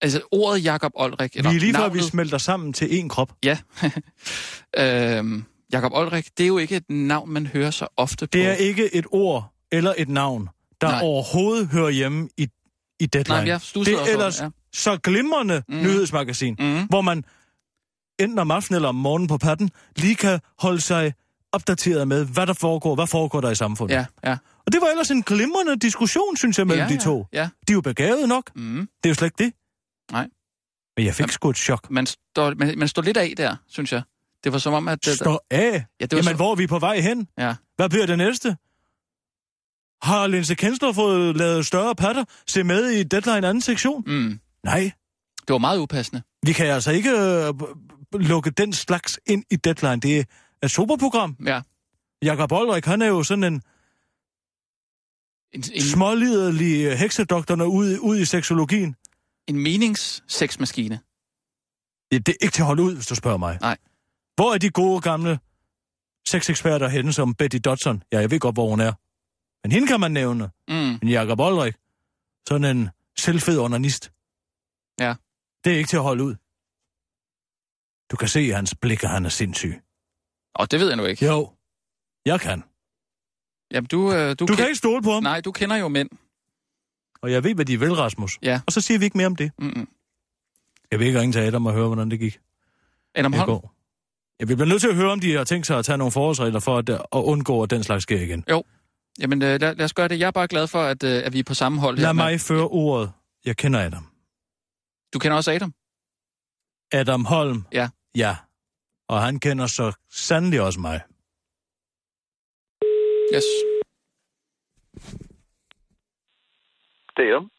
Speaker 5: Altså ordet Jakob Olrik.
Speaker 4: Eller vi er lige før, vi
Speaker 5: navnet-
Speaker 4: smelter sammen til én krop.
Speaker 5: Ja. øhm, Jakob Olrik, det er jo ikke et navn, man hører så ofte på.
Speaker 4: Det er ikke et ord eller et navn, der
Speaker 5: Nej.
Speaker 4: Nej. overhovedet hører hjemme i, i Deadline.
Speaker 5: Nej, men jeg
Speaker 4: det
Speaker 5: stussede
Speaker 4: er
Speaker 5: også over
Speaker 4: ellers
Speaker 5: det,
Speaker 4: ja. så glimrende
Speaker 5: Mm.
Speaker 4: mm. nyhedsmagasin,
Speaker 5: ja. mm.
Speaker 4: hvor man enten om aftenen eller om morgenen på patten, lige kan holde sig opdateret med, hvad der foregår, hvad foregår der i samfundet.
Speaker 5: Ja, ja.
Speaker 4: Og det var ellers en glimrende diskussion, synes jeg, mellem
Speaker 5: ja,
Speaker 4: ja, de to.
Speaker 5: Ja, ja.
Speaker 4: De er jo begavet nok.
Speaker 5: Mm.
Speaker 4: Det er jo slet ikke det.
Speaker 5: Nej.
Speaker 4: Men jeg fik
Speaker 5: Jamen,
Speaker 4: sgu et chok.
Speaker 5: Man, står, man, man står lidt af der, synes jeg. Det var som om, at...
Speaker 4: Stå af.
Speaker 5: ja, det var
Speaker 4: Jamen,
Speaker 5: så-
Speaker 4: hvor er vi på vej hen?
Speaker 5: Ja.
Speaker 4: Hvad bliver det næste? Har Linse Kensler fået lavet større patter? Se med i Deadline anden sektion?
Speaker 5: Mm.
Speaker 4: Nej,
Speaker 5: Det var meget upassende.
Speaker 4: vi kan altså ikke øh, b- b- lukke den slags ind i Deadline. Det er et superprogram.
Speaker 5: Ja.
Speaker 4: Jakob Olrik, han er jo sådan en,
Speaker 5: En,
Speaker 4: en...
Speaker 5: en,
Speaker 4: småliderlig øh, heksedoktor ud, ud i seksologien.
Speaker 5: en meningssexmaskine.
Speaker 4: Ja, det er ikke til at holde ud, hvis du spørger mig.
Speaker 5: Nej.
Speaker 4: Hvor er de gode gamle sexeksperter henne som Betty Dodson? Ja, jeg ved godt, hvor hun er. Men hende kan man nævne.
Speaker 5: Mm.
Speaker 4: Men Jakob Olrik, sådan en selvfed onanist.
Speaker 5: Ja.
Speaker 4: Det er ikke til at holde ud. Du kan se i hans blik, at han er sindssyg.
Speaker 5: Og det ved jeg nu ikke.
Speaker 4: Jo, jeg kan. Du,
Speaker 5: Jamen, du, øh, du,
Speaker 4: du kan ikke stole på ham.
Speaker 5: Nej, du kender jo mænd.
Speaker 4: Og jeg ved, hvad de vil, Rasmus.
Speaker 5: Ja.
Speaker 4: Og så siger vi ikke mere om det.
Speaker 5: Mm-mm.
Speaker 4: Jeg vil ikke ringe til Adam og høre, hvordan det gik.
Speaker 5: Adam
Speaker 4: i
Speaker 5: Holm,
Speaker 4: går. Ja, vi bliver nødt til at høre, om de har tænkt sig at tage nogle forholdsregler for at, at undgå, at den slags sker igen.
Speaker 5: jamen, øh, lad, lad os gøre det. Jeg er bare glad for, at, øh, at vi er på samme hold her.
Speaker 4: Lad
Speaker 5: men-
Speaker 4: mig føre ordet. Jeg kender Adam.
Speaker 5: Du kender også Adam?
Speaker 4: Adam Holm.
Speaker 5: Ja.
Speaker 4: Ja. Og han kender så sandelig også mig.
Speaker 5: Yes.
Speaker 7: Det er dem.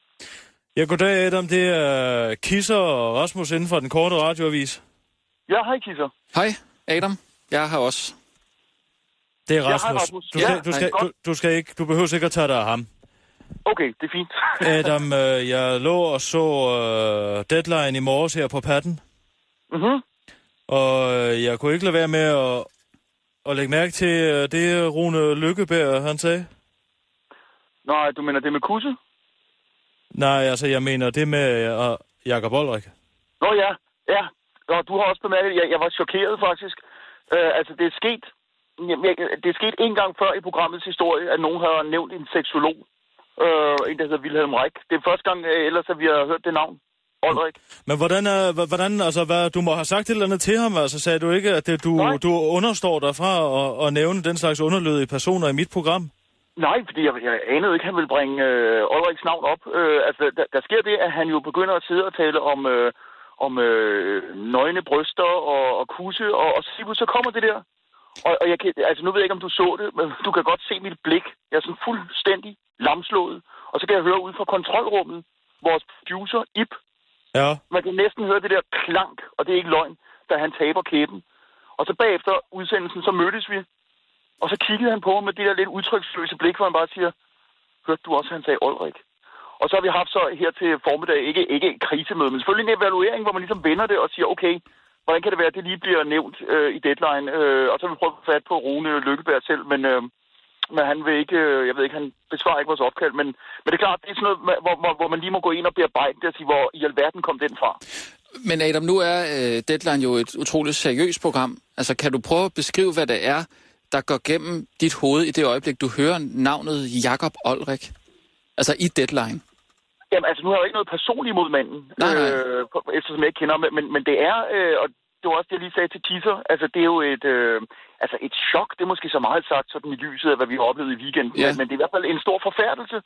Speaker 4: Ja, goddag Adam. Det er øh, Kisser og Rasmus inden for den korte radioavis.
Speaker 7: Ja, hej Kisser.
Speaker 5: Hej, Adam. Jeg har også.
Speaker 4: Det er
Speaker 7: hej,
Speaker 4: Rasmus.
Speaker 7: Rasmus.
Speaker 4: Du,
Speaker 7: Ja,
Speaker 4: skal, du, skal,
Speaker 7: godt.
Speaker 4: du, du, skal ikke, du behøver ikke at tage dig af ham.
Speaker 7: Okay, det er fint.
Speaker 4: Adam, øh, jeg lå og så øh, deadline i morges her på patten.
Speaker 7: mm-hmm.
Speaker 4: Og øh, jeg kunne ikke lade være med at, at lægge mærke til øh, det, Rune Lykkeberg, han sagde.
Speaker 7: Nå, du mener det med kusse?
Speaker 4: Nej, altså, jeg mener det med øh, Jakob Olrik.
Speaker 7: Nå ja, ja. Nå, du har også bemærket, jeg, jeg var chokeret faktisk. Øh, altså, det er sket. Jamen, jeg, det er sket en gang før i programmets historie, at nogen har nævnt en seksolog. Øh, en, der hedder Wilhelm Reich. Det er første gang øh, ellers, at vi har hørt det navn. Olrik.
Speaker 4: Men hvordan, øh, hva- hvordan altså, hvad, du må have sagt et eller andet til ham, altså, sagde du ikke, at det, du,
Speaker 7: Nej.
Speaker 4: du understår dig fra at, at nævne den slags underlødige personer i mit program?
Speaker 7: Nej, fordi jeg, jeg anede ikke, at han ville bringe øh, Olriks navn op. Øh, altså, der, der sker det, at han jo begynder at sidde og tale om, øh, om øh, nøgne bryster og, og kusse, og, og så, lige pludselig så kommer det der. Og, og jeg kan, altså, nu ved jeg ikke, om du så det, men du kan godt se mit blik. Jeg er sådan fuldstændig lamslået. Og så kan jeg høre ud fra kontrolrummet, vores producer, Ip,
Speaker 4: Ja.
Speaker 7: man kan næsten høre det der klank, og det er ikke løgn, da han taber kæben. Og så bagefter udsendelsen, så mødtes vi, og så kiggede han på mig med det der lidt udtryksløse blik, hvor han bare siger, hørte du også, han sagde Olrik? Og så har vi haft så her til formiddag, ikke, ikke et krisemøde, men selvfølgelig en evaluering, hvor man ligesom vender det og siger, okay, hvordan kan det være, at det lige bliver nævnt øh, i deadline? Øh, og så vil vi prøve at få fat på Rune Lykkeberg selv, men, øh, men han vil ikke, øh, jeg ved ikke, han besvarer ikke vores opkald, men, men det er klart, det er sådan noget, hvor, hvor, hvor man lige må gå ind og bearbejde det og sige, hvor i alverden kom den fra?
Speaker 5: Men Adam, nu er øh, Deadline jo et utroligt seriøst program. Altså, kan du prøve at beskrive, hvad det er, der går gennem dit hoved i det øjeblik, du hører navnet Jakob Olrik? Altså i deadline.
Speaker 7: Jamen, altså, nu har jeg jo ikke noget personligt imod manden,
Speaker 5: Nej, nej.
Speaker 7: Øh, på- eftersom jeg ikke kender ham, men, men det er, øh, og det var også det, jeg lige sagde til Kisser, altså, det er jo et, øh, altså, et chok, det er måske så meget sagt, sådan i lyset af, hvad vi har oplevet i weekenden,
Speaker 5: Ja.
Speaker 7: ja. men det er i hvert fald en stor forfærdelse,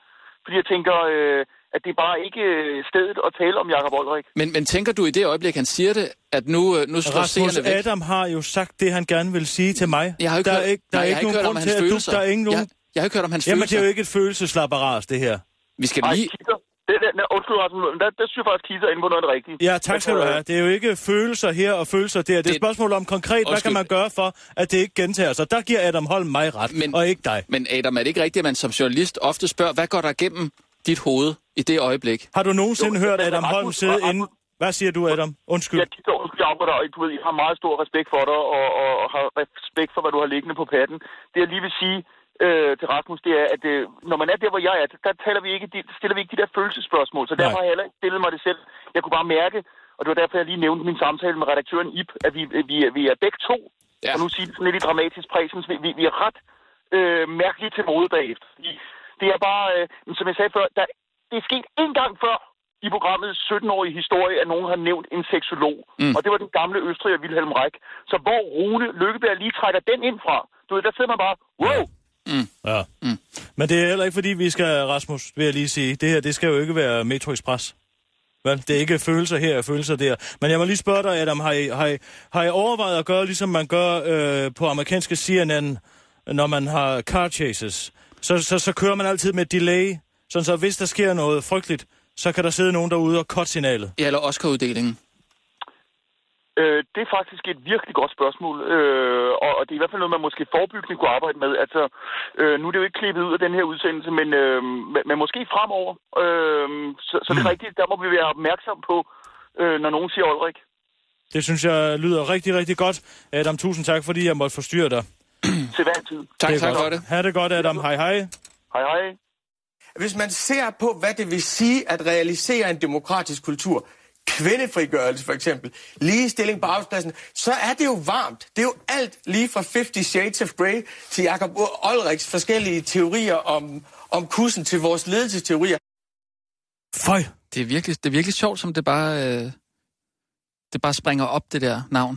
Speaker 7: fordi jeg tænker, øh, at det er bare ikke øh, stedet at tale om Jakob Olrik.
Speaker 5: Men, men tænker du i det øjeblik, han siger det, at nu, øh, nu slår
Speaker 4: Rasmus
Speaker 5: seerne væk?
Speaker 4: Altså, Adam har jo sagt det, han gerne vil sige til mig.
Speaker 5: Jeg har jo ikke
Speaker 4: der er
Speaker 5: hørt,
Speaker 4: ikke, der
Speaker 5: nej,
Speaker 4: er
Speaker 5: jeg
Speaker 4: ikke
Speaker 5: har ikke
Speaker 4: nogen
Speaker 5: hørt om
Speaker 4: grund
Speaker 5: hans
Speaker 4: til, at du...
Speaker 5: følelser.
Speaker 4: Der er ikke nogen...
Speaker 5: Jeg, jeg har ikke hørt om hans
Speaker 4: Jamen, det
Speaker 5: følelser.
Speaker 4: er jo ikke et følelseslapperas, det her.
Speaker 5: Vi skal
Speaker 7: Nej,
Speaker 5: lige...
Speaker 7: Kisser, det, det, nej, undskyld, Rasmus, men der, der synes jeg faktisk, Kisser er inde på noget af det rigtige. øh,
Speaker 4: Ja, tak skal du have. Det er jo ikke følelser her og følelser der. Det er et
Speaker 5: Det-
Speaker 4: spørgsmål om konkret, hvad kan
Speaker 5: Undskyld.
Speaker 4: man gøre for, at det ikke gentager sig. Der giver Adam Holm mig ret,
Speaker 5: Men-
Speaker 4: og ikke dig.
Speaker 5: Men Adam, er det ikke rigtigt, at man som journalist ofte spørger, hvad går der igennem dit hoved i det øjeblik?
Speaker 4: Har du nogensinde
Speaker 7: Jo,
Speaker 4: hørt
Speaker 7: men
Speaker 4: Adam Holm
Speaker 7: Rasmus-
Speaker 4: sidde
Speaker 7: Rasmus-
Speaker 4: inde... Hvad siger du, Adam? Undskyld.
Speaker 7: Jeg kigger over jeg arbejder, og du ved, jeg har meget stor respekt for dig, og, og, og har respekt for, hvad du har liggende på patten. Det jeg lige vil sige øh, til Rasmus, det er, at øh, når man er der, hvor jeg er, der taler vi ikke, de, stiller vi ikke de der følelsesspørgsmål, så derfor
Speaker 4: Nej.
Speaker 7: har jeg heller ikke stillet mig det selv. Jeg kunne bare mærke, og det var derfor, jeg lige nævnte min samtale med redaktøren Ip, at vi, vi, er- vi er begge to,
Speaker 5: Ja.
Speaker 7: ja. og nu siger det sådan lidt i dramatisk præsens, vi, vi, vi er ret øh, mærkeligt til mode bagefter. Fordi Det er bare, øh, men som jeg sagde før, der, det er sket en gang før i programmet 17-årige historie, at nogen har nævnt en seksolog. Mm. Og det var den gamle Østrig og Wilhelm Reich. Så hvor Rune Lykkeberg lige trækker den ind fra, du ved, der sidder man bare, wow,
Speaker 4: Ja.
Speaker 5: Mm.
Speaker 4: Men det er heller ikke, fordi vi skal, Rasmus, vil jeg lige sige. Det her, det skal jo ikke være Metro Express. Vel, det er ikke følelser her og følelser der. Men jeg må lige spørge dig, Adam, har I, har I, har I overvejet at gøre, ligesom man gør øh, på amerikanske CNN, når man har car chases? Så, så, så kører man altid med delay, sådan så hvis der sker noget frygteligt, så kan der sidde nogen derude og cut signalet.
Speaker 5: Ja, eller Oscar-uddelingen.
Speaker 7: Øh, det er faktisk et virkelig godt spørgsmål, øh, og, og det er i hvert fald noget, man måske forebyggende kunne arbejde med. Altså, øh, nu er det jo ikke klippet ud af den her udsendelse, men, øh, men, men måske fremover. Øh, så, så det er rigtigt, der må vi være opmærksom på, øh, når nogen siger Olrik.
Speaker 4: Det synes jeg lyder rigtig, rigtig godt. Adam, tusind tak, fordi jeg måtte forstyrre dig.
Speaker 7: Til hver en tid.
Speaker 5: Tak, tak
Speaker 4: godt.
Speaker 5: for det.
Speaker 4: Ha' det godt, Adam. Hej, hej.
Speaker 7: Hej hej.
Speaker 8: Hvis man ser på, hvad det vil sige at realisere en demokratisk kultur, kvindefrigørelse for eksempel, ligestilling på arbejdspladsen, så er det jo varmt. Det er jo alt lige fra 50 Shades of Grey til Jacob Olriks forskellige teorier om, om kussen til vores ledelsesteorier.
Speaker 4: Føj.
Speaker 5: Det er virkelig, det er virkelig sjovt, som det bare, øh, det bare springer op, det der navn.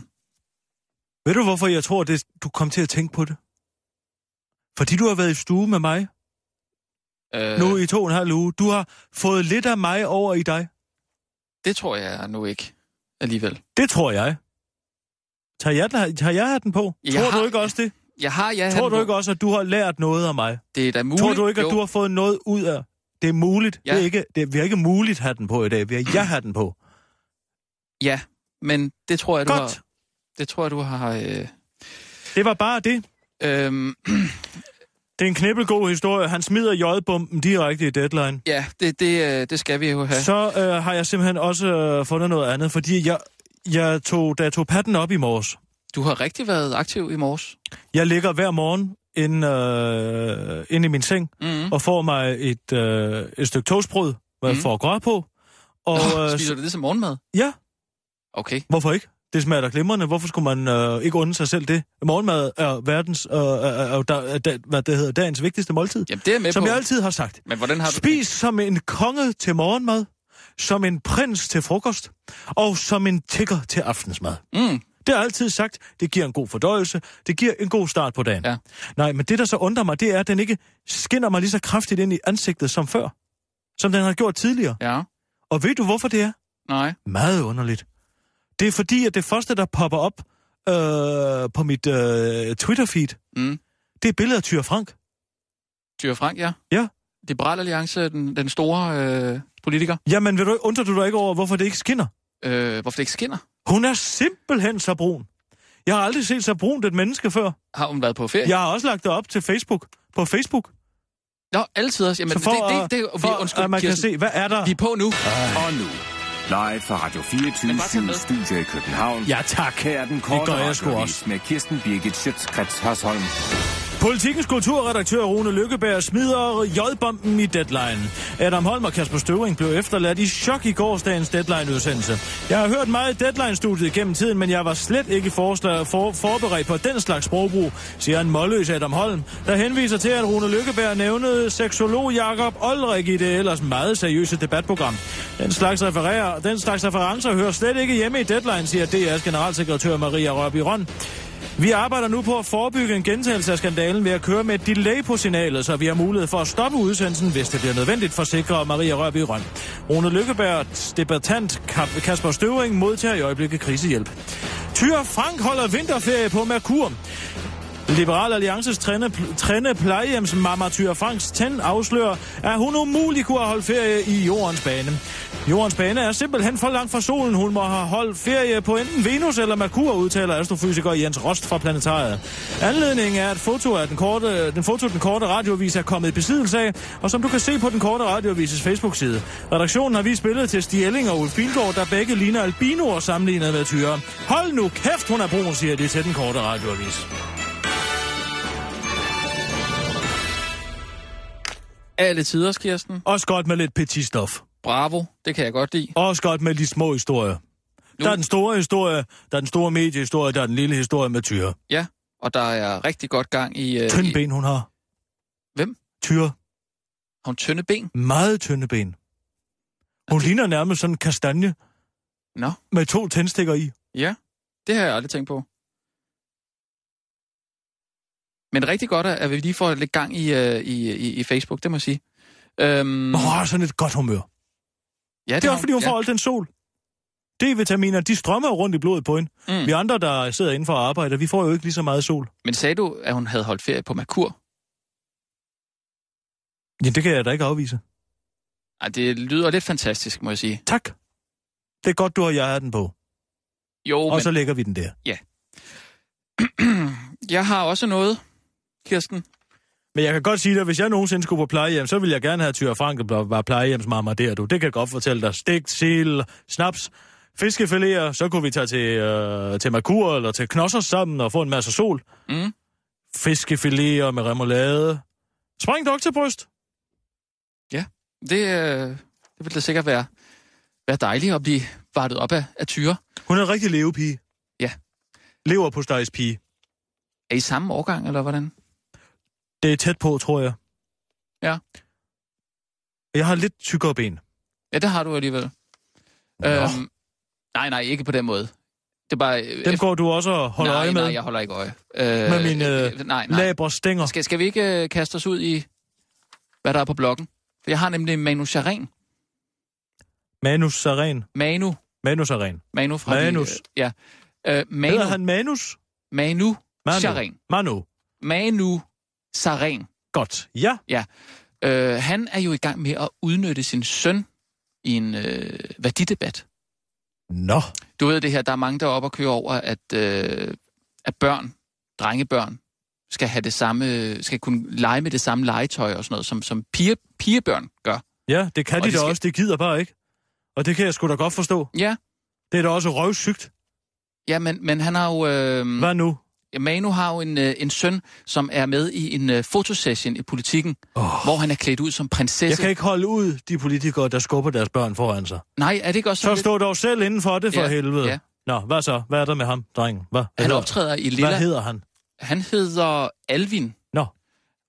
Speaker 4: Ved du, hvorfor jeg tror, det, du kom til at tænke på det? Fordi du har været i stue med mig
Speaker 5: Øh,
Speaker 4: øh. nu i to og en halv uge. Du har fået lidt af mig over i dig.
Speaker 5: Det tror jeg nu ikke alligevel.
Speaker 4: Det tror jeg. Tager jeg, den- har jeg den på?
Speaker 5: Jeg
Speaker 4: tror du
Speaker 5: har-
Speaker 4: ikke også det?
Speaker 5: Jeg har, jeg
Speaker 4: Tror du ikke også, at du har lært noget af mig?
Speaker 5: Det er da muligt.
Speaker 4: Tror du ikke, at
Speaker 5: jo.
Speaker 4: du har fået noget ud af... Det er muligt.
Speaker 5: Ja.
Speaker 4: Det er ikke, det, vi har ikke muligt have den på i dag. Vi har jeg har den på.
Speaker 5: Ja, men det tror jeg, du
Speaker 4: Godt.
Speaker 5: har... Det tror jeg, du har... Øh,
Speaker 4: Det var bare det.
Speaker 5: øhm,
Speaker 4: Det er en knibbelgod historie. Han smider jodbomben direkte i deadline.
Speaker 5: ja, det, det, øh, det skal vi jo have.
Speaker 4: så øh, har jeg simpelthen også øh, fundet noget andet, fordi jeg, jeg tog, da jeg tog patten op i morges,
Speaker 5: Du har rigtig været aktiv i morges.
Speaker 4: jeg ligger hver morgen inde, øh, inde i min seng
Speaker 5: Mm-hmm.
Speaker 4: og får mig et, øh, et stykke toastbrød, hvad jeg
Speaker 5: Mhm.
Speaker 4: får grøn på. Og,
Speaker 5: Og,
Speaker 4: øh,
Speaker 5: Spiser du det som morgenmad?
Speaker 4: ja,
Speaker 5: Okay.
Speaker 4: hvorfor ikke? Det smager da glimrende. Hvorfor skulle man øh, ikke unde sig selv det? Morgenmad er verdens, øh, er, er, er, er, er, hvad det hedder, dagens vigtigste måltid.
Speaker 5: Jamen, det er jeg med
Speaker 4: Som
Speaker 5: på.
Speaker 4: jeg altid har sagt.
Speaker 5: Men hvordan har du...
Speaker 4: Spis som en konge til morgenmad, som en prins til frokost, og som en tigger til aftensmad.
Speaker 5: Mm.
Speaker 4: Det har jeg altid sagt, det giver en god fordøjelse, det giver en god start på dagen.
Speaker 5: Ja.
Speaker 4: Nej, men det, der så undrer mig, det er, at den ikke skinner mig lige så kraftigt ind i ansigtet som før. Som den har gjort tidligere.
Speaker 5: Ja,
Speaker 4: Og ved du, hvorfor det er?
Speaker 5: nej.
Speaker 4: Meget underligt. Det er fordi, at det første, der popper op øh, på mit øh, Twitter-feed,
Speaker 5: Mm.
Speaker 4: det er billedet af Tyre Frank.
Speaker 5: Tyre Frank, ja.
Speaker 4: Ja.
Speaker 5: Liberal Alliance, den, den store øh, politiker.
Speaker 4: Jamen, ved du, undrer du dig ikke over, hvorfor det ikke skinner?
Speaker 5: Øh, hvorfor det ikke skinner?
Speaker 4: Hun er simpelthen så brun. Jeg har aldrig set så brunt et menneske før.
Speaker 5: Har hun været på ferie?
Speaker 4: Jeg har også lagt det op til Facebook. På Facebook.
Speaker 5: Nå, altid også. Jamen,
Speaker 4: så for,
Speaker 5: Altså, det, det, det,
Speaker 4: at-
Speaker 5: det,
Speaker 4: for
Speaker 5: vi, undskyld,
Speaker 4: at man
Speaker 5: Kirsten.
Speaker 4: kan se, hvad er der?
Speaker 5: Vi er på nu.
Speaker 6: Og nu, live fra Radio
Speaker 5: Men bare tag
Speaker 6: 24
Speaker 5: med.
Speaker 6: Studio i København.
Speaker 4: Ja, tak.
Speaker 6: Her er den
Speaker 4: det
Speaker 6: korte
Speaker 4: gør jeg sgu også.
Speaker 6: radiovis med Kirsten Birgit Schøtzgrads Hasholm.
Speaker 4: Politikens kulturredaktør Rune Lykkeberg smider J-bomben i deadline. Adam Holm og Kasper Støvring blev efterladt i chok i gårsdagens deadline-udsendelse. Jeg har hørt meget i deadline-studiet gennem tiden, men jeg var slet ikke forslag, for, forberedt på den slags sprogbrug, siger en målløs Adam Holm, der henviser til, at Rune Lykkeberg nævnede seksolog Jakob Olrik i det ellers meget seriøse debatprogram. Den slags, refererer, den slags referencer hører slet ikke hjemme i deadline, siger DR's generalsekretør Maria Rørby Røn. Vi arbejder nu på at forebygge en gentagelse af skandalen ved at køre med et delay på signalet, så vi har mulighed for at stoppe udsendelsen, hvis det bliver nødvendigt, forsikrer Maria Rørby Røn. Rune Lykkebergs debattant Kap- Kasper Støvring modtager i øjeblikket krisehjælp. Tyr Frank holder vinterferie på Merkur. Liberal Alliances træne, træne plejehjems mamma Tyre Franks 10 afslører, at hun umuligt kunne have holdt ferie i jordens bane. Jordens bane er simpelthen for langt fra solen. Hun må have holdt ferie på enten Venus eller Merkur, udtaler astrofysiker Jens Rost fra Planetariet. Anledningen er, at foto af den korte, den foto, den korte radiovis er kommet i besiddelse af, og som du kan se på den korte radiovises Facebook-side. Redaktionen har vist billedet til Stig Elling og Ulf Bilgaard, der begge ligner albinoer sammenlignet med tyre. Hold nu kæft, hun er brun, siger de til den korte radioavis.
Speaker 5: Alle tider, Kirsten.
Speaker 4: Også godt med lidt petit stof.
Speaker 5: Bravo, det kan jeg godt lide.
Speaker 4: Også godt med de små historier. Der er den store historie, der er den store mediehistorie, der er den lille historie med Tyre.
Speaker 5: Ja, og der er rigtig godt gang Øh, i... Øh,
Speaker 4: Tynde
Speaker 5: i
Speaker 4: ben, hun har.
Speaker 5: Hvem?
Speaker 4: Tyre.
Speaker 5: Har hun tynde ben?
Speaker 4: Meget tynde ben. Hun ligner nærmest sådan en kastanje
Speaker 5: Nå, Mhm.
Speaker 4: med to tændstikker i.
Speaker 5: ja. Det har jeg aldrig tænkt på. Men rigtig godt, at vi lige får lidt gang i, øh, i, i, i Facebook, det må jeg sige. Øhm,
Speaker 4: Og har sådan et godt humør.
Speaker 5: ja,
Speaker 4: Det er
Speaker 5: har
Speaker 4: også, fordi hun
Speaker 5: ja.
Speaker 4: får alt den sol. D-vitaminer, de strømmer jo rundt i blodet på hende.
Speaker 5: Mm.
Speaker 4: Vi andre, der sidder inden for og arbejder, vi får jo ikke lige så meget sol.
Speaker 5: Men sagde du, at hun havde holdt ferie på Merkur?
Speaker 4: Ja, det kan jeg da ikke afvise.
Speaker 5: Ej, det lyder lidt fantastisk, må jeg sige.
Speaker 4: Tak. Det er godt, du og jeg er den på.
Speaker 5: Jo,
Speaker 4: Og
Speaker 5: men
Speaker 4: så lægger vi den der.
Speaker 5: jeg har også noget, Kirsten.
Speaker 4: Men jeg kan godt sige dig, at hvis jeg nogensinde skulle på plejehjem, så ville jeg gerne have Tyre Frank der var plejehjemsmamma der, du. Det kan jeg godt fortælle dig. Stegt, sild, snaps, fiskefiléer, så kunne vi tage til, øh, til Merkur eller til Knossers sammen og få en masse sol.
Speaker 5: Mm.
Speaker 4: Fiskefiléer med remoulade. Spring dog til bryst.
Speaker 5: Det, øh, det ville da sikkert være, være dejligt at blive vartet op af, af tyre.
Speaker 4: Hun er en rigtig levepige.
Speaker 5: Ja.
Speaker 4: Lever på pige.
Speaker 5: Er I samme årgang, eller hvordan?
Speaker 4: Det er tæt på, tror jeg.
Speaker 5: Ja.
Speaker 4: Jeg har lidt tykkere ben.
Speaker 5: Ja, det har du alligevel.
Speaker 4: Nå.
Speaker 5: Øhm, nej, nej, ikke på den måde. Det er bare... øh,
Speaker 4: Dem går du også og holder
Speaker 5: nej,
Speaker 4: øje med.
Speaker 5: Nej, jeg holder ikke øje. Øh,
Speaker 4: Med mine, øh,
Speaker 5: nej, nej.
Speaker 4: Labre stænger.
Speaker 5: Skal, skal vi ikke øh, kaste os ud i, hvad der er på bloggen? For jeg har nemlig Manu Charin.
Speaker 4: Manus Saren.
Speaker 5: Manu.
Speaker 4: Manus Saren.
Speaker 5: Manu fra...
Speaker 4: Manus.
Speaker 5: De, øh, ja. Øh, Manu.
Speaker 4: Hedder han Manus?
Speaker 5: Manu.
Speaker 4: Manu.
Speaker 5: Charin.
Speaker 4: Manu.
Speaker 5: Manu Sarin.
Speaker 4: Godt. Ja.
Speaker 5: Øh, han er jo i gang med at udnytte sin søn i en øh, værdidebat.
Speaker 4: Nå.
Speaker 5: Du ved det her, der er mange, der er oppe og kører over, at, øh, at børn, drengebørn, skal have det samme, skal kunne lege med det samme legetøj og sådan noget, som, som piger, pigebørn gør.
Speaker 4: Ja, det kan
Speaker 5: Og
Speaker 4: de
Speaker 5: de
Speaker 4: da
Speaker 5: skal-
Speaker 4: også. Det gider bare ikke. Og det kan jeg sgu da godt forstå.
Speaker 5: Ja,
Speaker 4: Det er da også røvsygt.
Speaker 5: Mm. ja men, men han har jo... Øh,
Speaker 4: Hvad nu?
Speaker 5: Manu har jo en, øh, en søn, som er med i en øh, fotosession i politikken, oh. hvor han er klædt ud som
Speaker 4: Jeg
Speaker 5: prinsesse.
Speaker 4: kan ikke holde ud de politikere, der skubber deres børn foran sig.
Speaker 5: Nej, er det ikke også
Speaker 4: Så
Speaker 5: sådan
Speaker 4: stå dog selv inden for det, for
Speaker 5: Ja,
Speaker 4: helvede.
Speaker 5: ja.
Speaker 4: Nå, hvad så? Hvad er der med ham, drengen? Hvad,
Speaker 5: lidt? Han
Speaker 4: hedder-
Speaker 5: optræder i Lilla.
Speaker 4: hvad hedder han?
Speaker 5: Han hedder Alvin.
Speaker 4: Nå.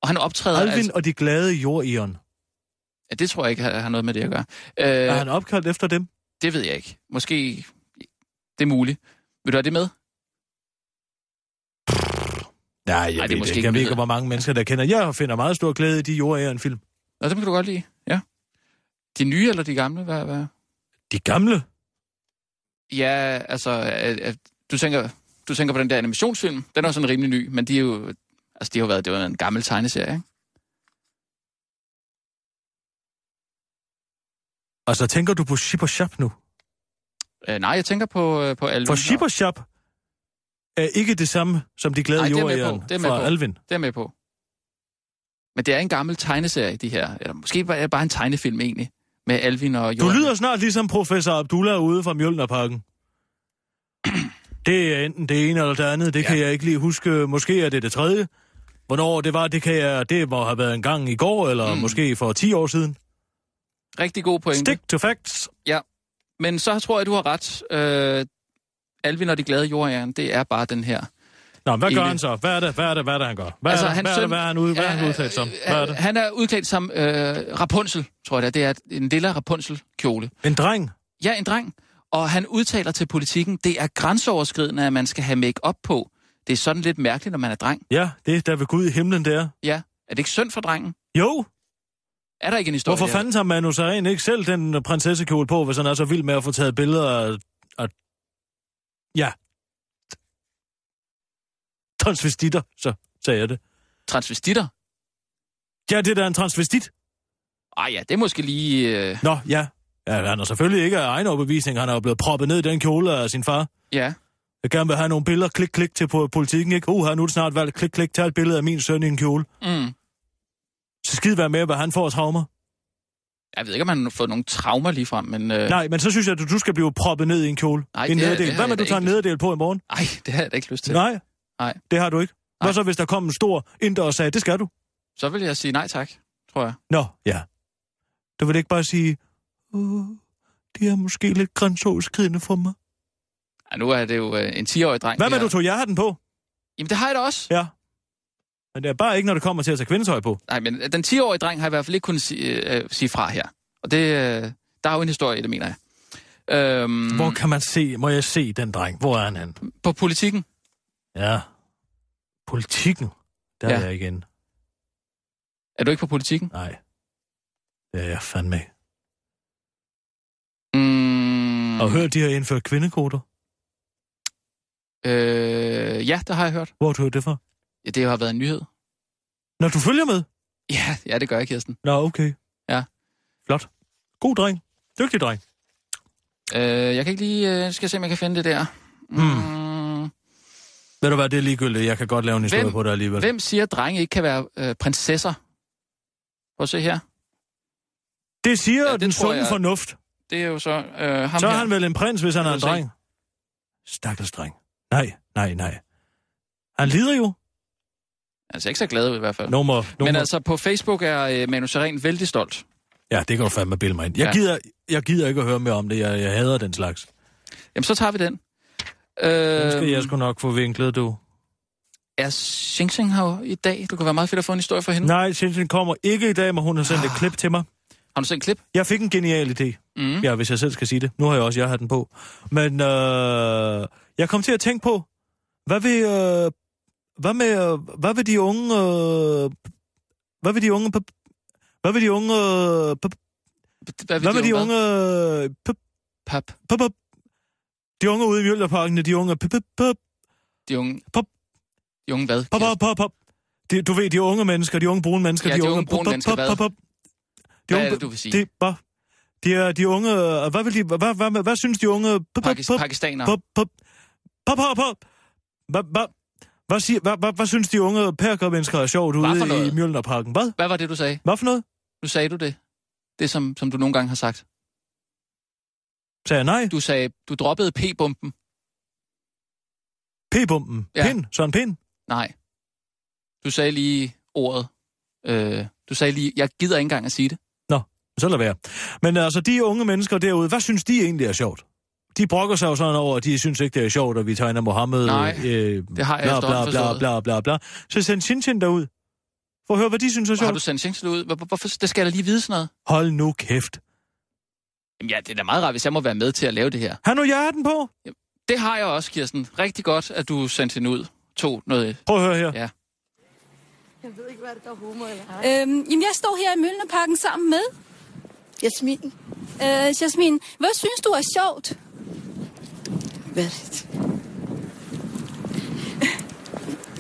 Speaker 5: Og han optræder...
Speaker 4: Alvin
Speaker 5: Altså,
Speaker 4: og de glade jordion.
Speaker 5: ja, det tror jeg ikke har, har noget med det at gøre.
Speaker 4: Er
Speaker 5: Øh,
Speaker 4: han opkaldt efter dem?
Speaker 5: Det ved jeg ikke. Måske... Det er muligt. Vil du have det med?
Speaker 4: Nej, jeg,
Speaker 5: det er
Speaker 4: ved,
Speaker 5: måske
Speaker 4: det
Speaker 5: ikke
Speaker 4: ikke. jeg ved ikke,
Speaker 5: nyheder.
Speaker 4: hvor mange mennesker, der kender. Jeg finder meget stor glæde i de jordion-film.
Speaker 5: Nå, dem kan du godt lide. Ja. De nye eller de gamle? Hvad, hvad?
Speaker 4: De gamle?
Speaker 5: Ja, altså... At, at, du, tænker, du tænker på den der animationsfilm. Den er jo sådan rimelig ny, men de er jo... Altså, de har jo været, det var en gammel tegneserie, ikke?
Speaker 4: Altså, tænker du på Ship og Shop nu?
Speaker 5: Øh, nej, jeg tænker på, øh, på Alvin.
Speaker 4: For Ship og Shop er ikke det samme som de glade
Speaker 5: Nej, det er jeg med
Speaker 4: jordion
Speaker 5: på. Det er jeg med
Speaker 4: fra
Speaker 5: på.
Speaker 4: Alvin.
Speaker 5: Det er jeg med på. Men det er en gammel tegneserie, de her. Eller måske var det bare en tegnefilm, egentlig. Med Alvin og
Speaker 4: Du
Speaker 5: Johan.
Speaker 4: lyder snart ligesom professor Abdullah ude fra Mjølnerparken. Det er enten det ene eller det andet, det ja. kan jeg ikke lige huske. Måske er det det tredje. Hvornår det var, det kan jeg... Det må have været en gang i går, eller mm. måske for 10 år siden.
Speaker 5: Rigtig god pointe.
Speaker 4: Stick to facts.
Speaker 5: Men så tror jeg, du har ret. Øh, Alvin og de glade jordjern, det er bare den her.
Speaker 4: Nå, hvad gør
Speaker 5: Enig.
Speaker 4: han så? Hvad er det, hvad er det, hvad er det han gør? Hvad, altså,
Speaker 5: Altså,
Speaker 4: er, det, hvad,
Speaker 5: hans
Speaker 4: er, det,
Speaker 5: søn-
Speaker 4: hvad er han ude, hvad er han
Speaker 5: Ja,
Speaker 4: udtalt som?
Speaker 5: øh,
Speaker 4: Hvad er det?
Speaker 5: Han er udklædt som øh, Rapunzel, tror jeg det er. Det er en lille Rapunzel-kjole.
Speaker 4: En dreng?
Speaker 5: Ja, en dreng. Og han udtaler til politikken, det er grænseoverskridende, at man skal have make op på. Det er sådan lidt mærkeligt, når man er dreng.
Speaker 4: Ja, det er der ved Gud i himlen der.
Speaker 5: Ja, er det ikke synd for drengen?
Speaker 4: Jo,
Speaker 5: Er der ikke en historie?
Speaker 4: hvorfor
Speaker 5: der?
Speaker 4: fanden tager Manu Saren ikke selv den øh, prinsessekjole på, hvis han er så vild med at få taget billeder af... af ja. Transvestitter, så sagde jeg det.
Speaker 5: Transvestitter?
Speaker 4: Ja, det der er en transvestit.
Speaker 5: Ej Ah, ja, det er måske lige... Øh,
Speaker 4: Nå, ja. ja han er selvfølgelig ikke af egen overbevisning. Han er jo blevet proppet ned i den kjole af sin far.
Speaker 5: ja.
Speaker 4: Jeg gerne vil have nogle billeder, klik, klik til på politikken, ikke? Uh, nu er det snart valgt, klik, klik, tag et billede af min søn i en kjole.
Speaker 5: Mm.
Speaker 4: Så skide være med, hvad han får af traumer.
Speaker 5: Jeg ved ikke, om han har fået nogle traumer lige frem, men... Øh,
Speaker 4: Nej, men så synes jeg, at du- du skal blive proppet ned i en kjole.
Speaker 5: Nej,
Speaker 4: I en
Speaker 5: det-
Speaker 4: nederdel.
Speaker 5: det har
Speaker 4: Hvad
Speaker 5: jeg
Speaker 4: med,
Speaker 5: da
Speaker 4: du tager en
Speaker 5: ikke.
Speaker 4: nederdel på i morgen?
Speaker 5: Ej, det har jeg da ikke lyst til.
Speaker 4: Nej.
Speaker 5: Nej.
Speaker 4: Det har du ikke. Hvad
Speaker 5: Nej.
Speaker 4: så, hvis der kom en stor inder og sagde, det skal du?
Speaker 5: Så vil jeg sige nej tak, tror jeg.
Speaker 4: Nå, ja. Du vil ikke bare sige, uh, det er måske lidt grænseoverskridende for mig.
Speaker 5: Ej, nu er det jo øh, en 10-årig dreng.
Speaker 4: Hvad
Speaker 5: det
Speaker 4: med,
Speaker 5: her.
Speaker 4: du tog jer den på?
Speaker 5: Jamen, det har jeg da også.
Speaker 4: Ja. Men det er bare ikke, når det kommer til at tage kvindetøj på.
Speaker 5: Nej, men den 10-årige dreng har i hvert fald ikke kunnet sige, øh, sige fra her. Og det, øh, der er jo en historie i det, mener jeg. Øhm,
Speaker 4: Hvor kan man se, må jeg se den dreng? Hvor er han henne?
Speaker 5: På politikken.
Speaker 4: Ja. Politikken. Der ja.
Speaker 5: Ja.
Speaker 4: er jeg igen.
Speaker 5: Er du ikke på politikken?
Speaker 4: Nej. Det er jeg fandme ikke.
Speaker 5: Mm,
Speaker 4: Mm. Og hør, de har indført kvindekoder.
Speaker 5: øh, ja, det har jeg hørt.
Speaker 4: Hvor har du hørt det fra?
Speaker 5: Ja, det har været en nyhed.
Speaker 4: Når du følger med?
Speaker 5: Ja, ja det gør jeg, Kirsten.
Speaker 4: Nå, okay.
Speaker 5: Ja.
Speaker 4: Flot. God dreng. Dygtig dreng.
Speaker 5: Øh, jeg kan ikke lige... Øh, skal jeg se, om jeg kan finde det der.
Speaker 4: Hmm.
Speaker 5: Mm.
Speaker 4: Ved du hvad, det er ligegyldigt. Jeg kan godt lave en historie
Speaker 5: Hvem-
Speaker 4: på dig alligevel.
Speaker 5: Hvem siger, at drenge ikke kan være øh, prinsesser? Prøv at se her.
Speaker 4: Det siger
Speaker 5: Ja,
Speaker 4: ja,
Speaker 5: det
Speaker 4: den
Speaker 5: tror
Speaker 4: sunde jeg...
Speaker 5: jeg-
Speaker 4: fornuft.
Speaker 5: Det er jo så øh, ham
Speaker 4: Så er
Speaker 5: her.
Speaker 4: han vel en prins, hvis han er
Speaker 5: Kan du
Speaker 4: en
Speaker 5: se?
Speaker 4: dreng. Stakkels dreng. Nej, nej, nej. Han lider jo.
Speaker 5: Altså ikke så glad i hvert fald.
Speaker 4: Nummer, nummer.
Speaker 5: Men altså, på Facebook er øh, Manu Seren vældig stolt.
Speaker 4: Ja, det kan du fandme bilde mig ind. Jeg,
Speaker 5: altså- Ja. Øhm.
Speaker 4: gider, jeg gider ikke at høre mere om det. Jeg, jeg hader den slags.
Speaker 5: Jamen, så tager vi den.
Speaker 4: Den skal jeg
Speaker 5: Øh,
Speaker 4: sgu nok få vinklet, du.
Speaker 5: er Xing Xing her i dag? Du kan være meget fedt at få en historie for hende.
Speaker 4: Nej, Shenzhen kommer ikke i dag, men hun har sendt et
Speaker 5: Ah.
Speaker 4: klip til mig.
Speaker 5: Har du set en klip?
Speaker 4: Jeg fik en genial idé.
Speaker 5: Mm.
Speaker 4: Mm-hmm. Ja, hvis jeg selv skal sige det. Nu har jeg også jeg har den på. Men øh, jeg kom til at tænke på, hvad vil, øh, hvad med, øh, hvad vil de unge... Øh, hvad vil de unge... p- Hvad vil de unge... Øh, p-
Speaker 5: Hvad
Speaker 4: hvad vil de unge... øh, p-
Speaker 5: Pap.
Speaker 4: p- p- De unge ude i Mjølnerparken, de unge... p- p- p-
Speaker 5: De unge...
Speaker 4: Pop.
Speaker 5: De unge hvad?
Speaker 4: Pop, pop, pop, pop. De, du ved, de unge mennesker, de unge brune mennesker,
Speaker 5: Ja, de unge
Speaker 4: pop,
Speaker 5: brune
Speaker 4: pop,
Speaker 5: mennesker,
Speaker 4: pop,
Speaker 5: hvad?
Speaker 4: pop, pop. De
Speaker 5: Hvad er
Speaker 4: unge-
Speaker 5: det, du vil sige?
Speaker 4: De, hvad? De, er, de unge... øh, Hvad, vil de, hvad, hvad, hvad, hvad synes de unge... Pop, pop,
Speaker 5: Pakis-
Speaker 4: pop,
Speaker 5: Pakistanere.
Speaker 4: pop, pop, pop, pop, pop. Hvad, hvad, hvad, siger, hvad, hvad, hvad synes de unge pærkermennesker er sjovt
Speaker 5: Hvad for
Speaker 4: ude i
Speaker 5: noget?
Speaker 4: Mjølnerparken? Hvad?
Speaker 5: Hvad var det, du sagde?
Speaker 4: Hvad for noget?
Speaker 5: Nu sagde du det. Det, som, som du nogle gange har sagt.
Speaker 4: Sagde jeg nej.
Speaker 5: Du sagde, du droppede p-bomben.
Speaker 4: P-bumpen.
Speaker 5: Ja.
Speaker 4: Pind. Søren Pind.
Speaker 5: Nej. Du sagde lige ordet. Øh, du sagde lige, jeg gider ikke engang at sige det.
Speaker 4: Så lad være. Men altså, de unge mennesker derude, hvad synes de egentlig er sjovt? De brokker sig jo sådan over, at de synes ikke, det er sjovt, at vi tegner Mohammed.
Speaker 5: Nej,
Speaker 4: øh,
Speaker 5: det har jeg
Speaker 4: bla, bla,
Speaker 5: efterhånden
Speaker 4: bla,
Speaker 5: forstået.
Speaker 4: bla, bla, bla. Så send Shinshin derud. For at høre, hvad de synes er
Speaker 5: Har
Speaker 4: sjovt.
Speaker 5: du sendt Xing Xing ud? Hvor- hvor- Hvorfor? Det skal jeg da lige vide sådan noget.
Speaker 4: Hold nu kæft.
Speaker 5: Jamen ja, det er da meget rart, hvis jeg må være med til at lave det her.
Speaker 4: Har nu hjerten på?
Speaker 5: Det har jeg også, Kirsten. Rigtig godt, at du sendte hende ud. To noget.
Speaker 4: Prøv at høre her.
Speaker 5: Ja.
Speaker 9: Øhm, jamen, jeg står her i Mølnerparken sammen med
Speaker 10: Jasmin.
Speaker 9: øh, Jasmin. Hvad synes du er sjovt?
Speaker 10: Hvad er det?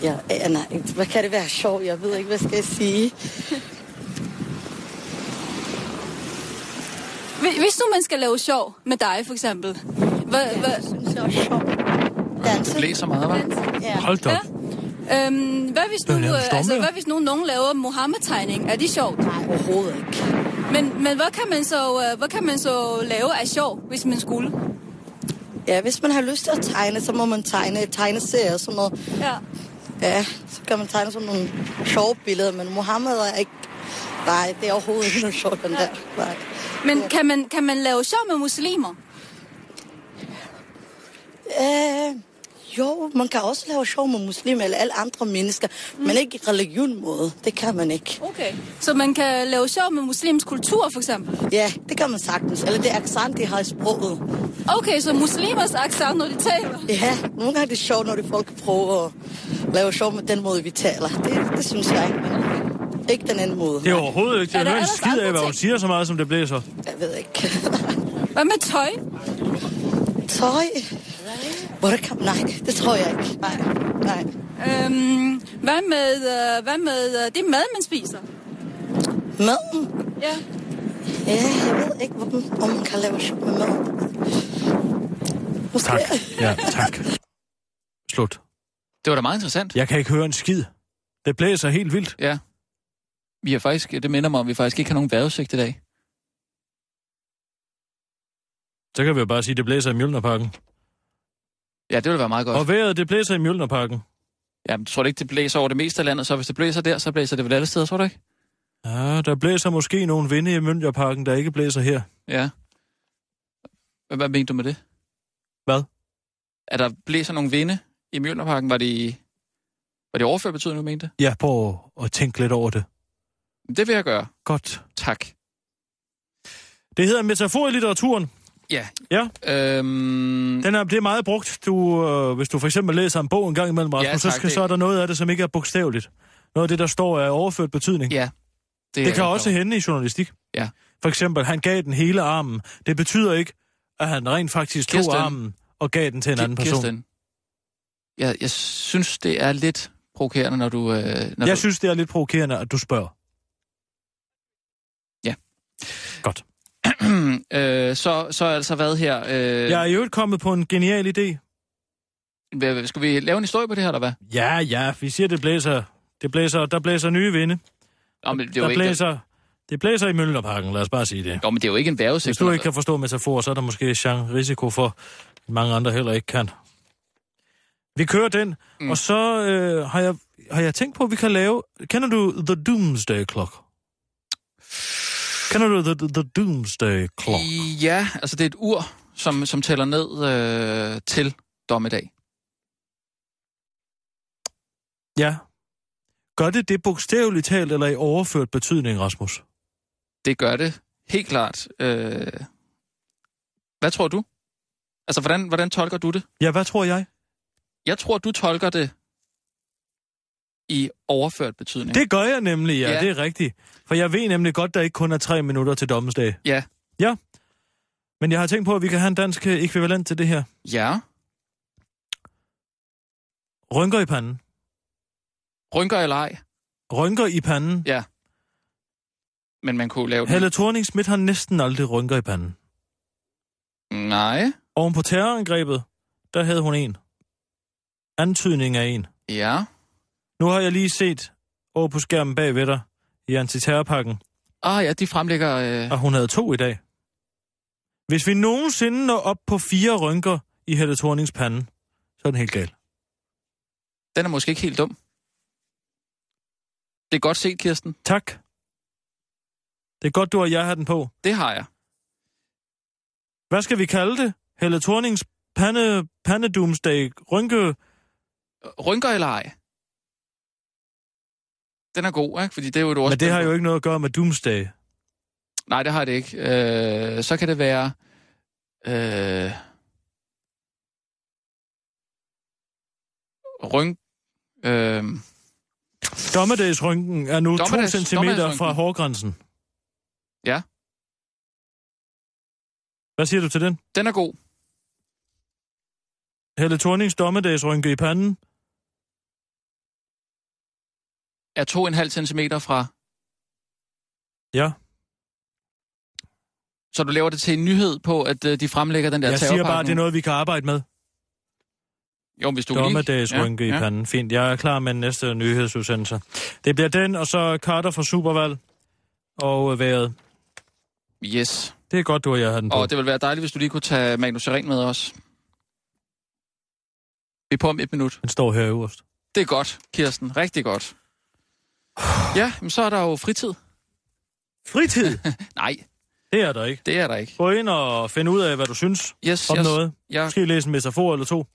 Speaker 10: Ja, ja, nej, hvad kan det være sjovt? Jeg ved ikke, hvad skal jeg sige?
Speaker 9: Hvi- Hvis nu man skal lave sjov med dig, for eksempel. Hvad, hvad,
Speaker 10: synes, det er sjovt. Danse.
Speaker 5: Du læser meget, hva'?
Speaker 10: Ja.
Speaker 4: Hold da op.
Speaker 9: ja? øhm, hvad hvis nu,
Speaker 4: Det er
Speaker 9: øh,
Speaker 4: nærmest
Speaker 9: altså,
Speaker 4: stormvejr.
Speaker 9: hvad hvis nu nogen laver Mohammed-tegning? Er det sjovt?
Speaker 10: Nej, overhovedet ikke.
Speaker 9: Men, men hvad, kan man så, øh, hvad kan man så lave af sjov, hvis man skulle?
Speaker 10: Ja, hvis man har lyst til at tegne, så må man tegne tegneserier og sådan noget.
Speaker 9: Ja.
Speaker 10: Ja, så kan man tegne sådan nogle sjove billeder, men Mohammed er ikke... Nej, det er overhovedet ikke noget sjovt, den der. Nej.
Speaker 9: Men kan man, kan man lave sjov med muslimer?
Speaker 10: Øh, jo, man kan også lave sjov med muslimer eller alle andre mennesker, mm. men ikke i religion måde. Det kan man ikke.
Speaker 9: Okay. Så man kan lave sjov med muslimsk kultur, for eksempel?
Speaker 10: Ja, det kan man sagtens. Eller det accent, de har i sproget.
Speaker 9: Okay, så muslimers accent, når de taler?
Speaker 10: Ja, nogle gange er det sjovt, når de folk prøver at lave sjov med den måde, vi taler. Det, det synes jeg ikke, men ikke den anden måde.
Speaker 4: Det er overhovedet ikke.
Speaker 9: Er
Speaker 4: Jeg
Speaker 9: der
Speaker 4: hører en
Speaker 9: ellers
Speaker 4: skid af,
Speaker 9: andre
Speaker 4: hvad hun
Speaker 9: ting?
Speaker 4: siger så meget, som det blæser.
Speaker 10: Jeg ved ikke.
Speaker 9: Hvad med tøj?
Speaker 10: Tøj? Hvor det kan... Nej, det tror jeg ikke. Nej, nej.
Speaker 9: Øhm, hvad med, øh, hvad med øh, det mad, man spiser?
Speaker 10: Maden?
Speaker 9: Ja.
Speaker 10: Ja, jeg ved ikke, hvor- om man kan lave sjov med maden. Måske...
Speaker 4: Tak. Ja, tak. Slut.
Speaker 5: Det var da meget interessant.
Speaker 4: Jeg kan ikke høre en skid. Det blæser helt vildt.
Speaker 5: Ja. Vi har faktisk, det minder mig om, at vi faktisk ikke har nogen vejrudsigt i dag.
Speaker 4: Så kan vi jo bare sige, at det blæser i Mjølnerparken.
Speaker 5: Ja, det ville være meget godt.
Speaker 4: Og vejret, det blæser i Mjølnerparken.
Speaker 5: Jamen, tror du ikke, det blæser over det meste af landet, så hvis det blæser der, så blæser det vel alle steder, tror du ikke?
Speaker 4: Ja, der blæser måske nogle vinde i Mjølnerparken, der ikke blæser her.
Speaker 5: Ja. Hvad, hvad mente du med det?
Speaker 4: Hvad?
Speaker 5: At der blæser nogle vinde i Mjølnerparken, var det, i- var det overført betydning, du mente?
Speaker 4: Ja, prøv at tænke lidt over det.
Speaker 5: Det vil jeg gøre.
Speaker 4: Godt.
Speaker 5: Tak.
Speaker 4: Det hedder metafor i litteraturen.
Speaker 5: Ja.
Speaker 4: Ja.
Speaker 5: Øhm,
Speaker 4: Den er, det er meget brugt. Du, øh, hvis du for eksempel læser en bog en gang imellem, Rasmus, ja, tak, så,
Speaker 5: tak,
Speaker 4: skal, det...
Speaker 5: det-
Speaker 4: så er der noget af det, som ikke er bogstaveligt. Noget af det, der står, er overført betydning.
Speaker 5: ja. er
Speaker 4: Det kan
Speaker 5: jeg
Speaker 4: også
Speaker 5: klar
Speaker 4: hænde i journalistik.
Speaker 5: Ja.
Speaker 4: For eksempel, han gav den hele armen. Det betyder ikke, at han rent faktisk tog
Speaker 5: Kirsten.
Speaker 4: armen og gav den til en
Speaker 5: over.
Speaker 4: anden
Speaker 5: Ki-
Speaker 4: person.
Speaker 5: Kirsten, jeg, jeg synes, det er lidt provokerende, når du... Øh, når
Speaker 4: Jeg
Speaker 5: du...
Speaker 4: synes, det er lidt provokerende, at du spørger.
Speaker 5: øh, så, så er altså hvad her? Øh,
Speaker 4: Jeg er i øvrigt kommet på en genial idé.
Speaker 5: hvad- hvad- Skal vi lave en historie på det her, eller hvad?
Speaker 4: Ja, ja, vi siger, det blæser. Det blæser, der blæser nye vinde.
Speaker 5: Nå, men det er jo
Speaker 4: Der
Speaker 5: ikke,
Speaker 4: blæser, det blæser i Møllerparken, lad os bare sige det.
Speaker 5: jo, men det er jo ikke en vejrudsigt.
Speaker 4: Hvis du
Speaker 5: eller
Speaker 4: ikke kan forstå metaforer, så er der måske en risiko for, at mange andre heller ikke kan. Vi kører den, mm.
Speaker 5: Mm.
Speaker 4: og så øh, har, jeg, har jeg tænkt på, at vi kan lave... Kender du The Doomsday Clock? Kender du The, the Doomsday Clock?
Speaker 5: Ja, altså det er et ur, som, som tæller ned øh, til dommedag.
Speaker 4: Ja. Gør det det bogstaveligt talt eller i overført betydning, Rasmus?
Speaker 5: Det gør det helt klart. Øh... Hvad tror du? Altså, hvordan, hvordan tolker du det?
Speaker 4: Ja, hvad tror jeg?
Speaker 5: Jeg tror, du tolker det i overført betydning.
Speaker 4: Det gør jeg nemlig, ja, ja.
Speaker 5: Ja.
Speaker 4: det er rigtigt. For jeg ved nemlig godt, der ikke kun er tre minutter til dommedag.
Speaker 5: Ja.
Speaker 4: Ja. Men jeg har tænkt på, at vi kan have en dansk øh, ekvivalent til det her.
Speaker 5: Ja.
Speaker 4: Rynker i panden.
Speaker 5: Rynker eller ej,
Speaker 4: Rynker i panden.
Speaker 5: men man kunne lave den.
Speaker 4: Helle thorning Schmidt har næsten aldrig rynker i panden.
Speaker 5: Nej.
Speaker 4: Oven på terrorangrebet, der havde hun en. Antydning af en.
Speaker 5: Ja.
Speaker 4: Nu har jeg lige set over på skærmen bagved dig i antiterrorpakken,
Speaker 5: Ah ja, de fremlægger... Øh...
Speaker 4: at hun havde to i dag. Hvis vi nogensinde når op på fire rynker i Helle Thornings pande, så er den helt gal.
Speaker 5: Den er måske ikke helt dum. Det er godt set, Kirsten.
Speaker 4: Tak. Det er godt, du og jeg har den på.
Speaker 5: Det har jeg.
Speaker 4: Hvad skal vi kalde det? Helle Thornings pande, pandedumsdag, rynke...
Speaker 5: Rynker eller ej? Den er god, ikke? Fordi det er jo et ordspil.
Speaker 4: Men det har jo ikke noget at gøre med doomsday.
Speaker 5: Nej, det har det ikke. Øh, så kan det være... Øh, ryng... Øh,
Speaker 4: Dommedagsrynken er nu 2
Speaker 5: Dommedags-
Speaker 4: centimeter fra
Speaker 5: dommedagsrynken.
Speaker 4: hårgrænsen.
Speaker 5: Ja.
Speaker 4: Hvad siger du til den?
Speaker 5: den er god.
Speaker 4: Helle Thornings dommedagsrynke i panden?
Speaker 5: Er 2,5 cm fra...
Speaker 4: Ja.
Speaker 5: Så du laver det til en nyhed på, at øh, de fremlægger den der
Speaker 4: Jeg siger bare,
Speaker 5: terrorpakke
Speaker 4: det er
Speaker 5: nu?
Speaker 4: noget, vi kan arbejde med.
Speaker 5: Jo, hvis du kan lide-
Speaker 4: Dommedagsrynke ja, i panden. Fint, jeg er klar med næste nyhedsudsendelse. Det bliver den, og så Carter fra Supervalg og øh, vejret.
Speaker 5: Ja. Yes.
Speaker 4: Det er godt, du og jeg har den på.
Speaker 5: Og det ville være dejligt, hvis du lige kunne tage Magnus Seren med os. Vi er på om et minut.
Speaker 4: Den står her øverst.
Speaker 5: Det er godt, Kirsten. Rigtig godt. Ja, men så er der jo fritid.
Speaker 4: Fritid?
Speaker 5: Nej,
Speaker 4: Det er der ikke.
Speaker 5: det er der ikke.
Speaker 4: Gå ind og find ud af, hvad du synes
Speaker 5: Yes,
Speaker 4: om
Speaker 5: yes.
Speaker 4: noget.
Speaker 5: Jeg,
Speaker 4: Måske læse en metafor eller to.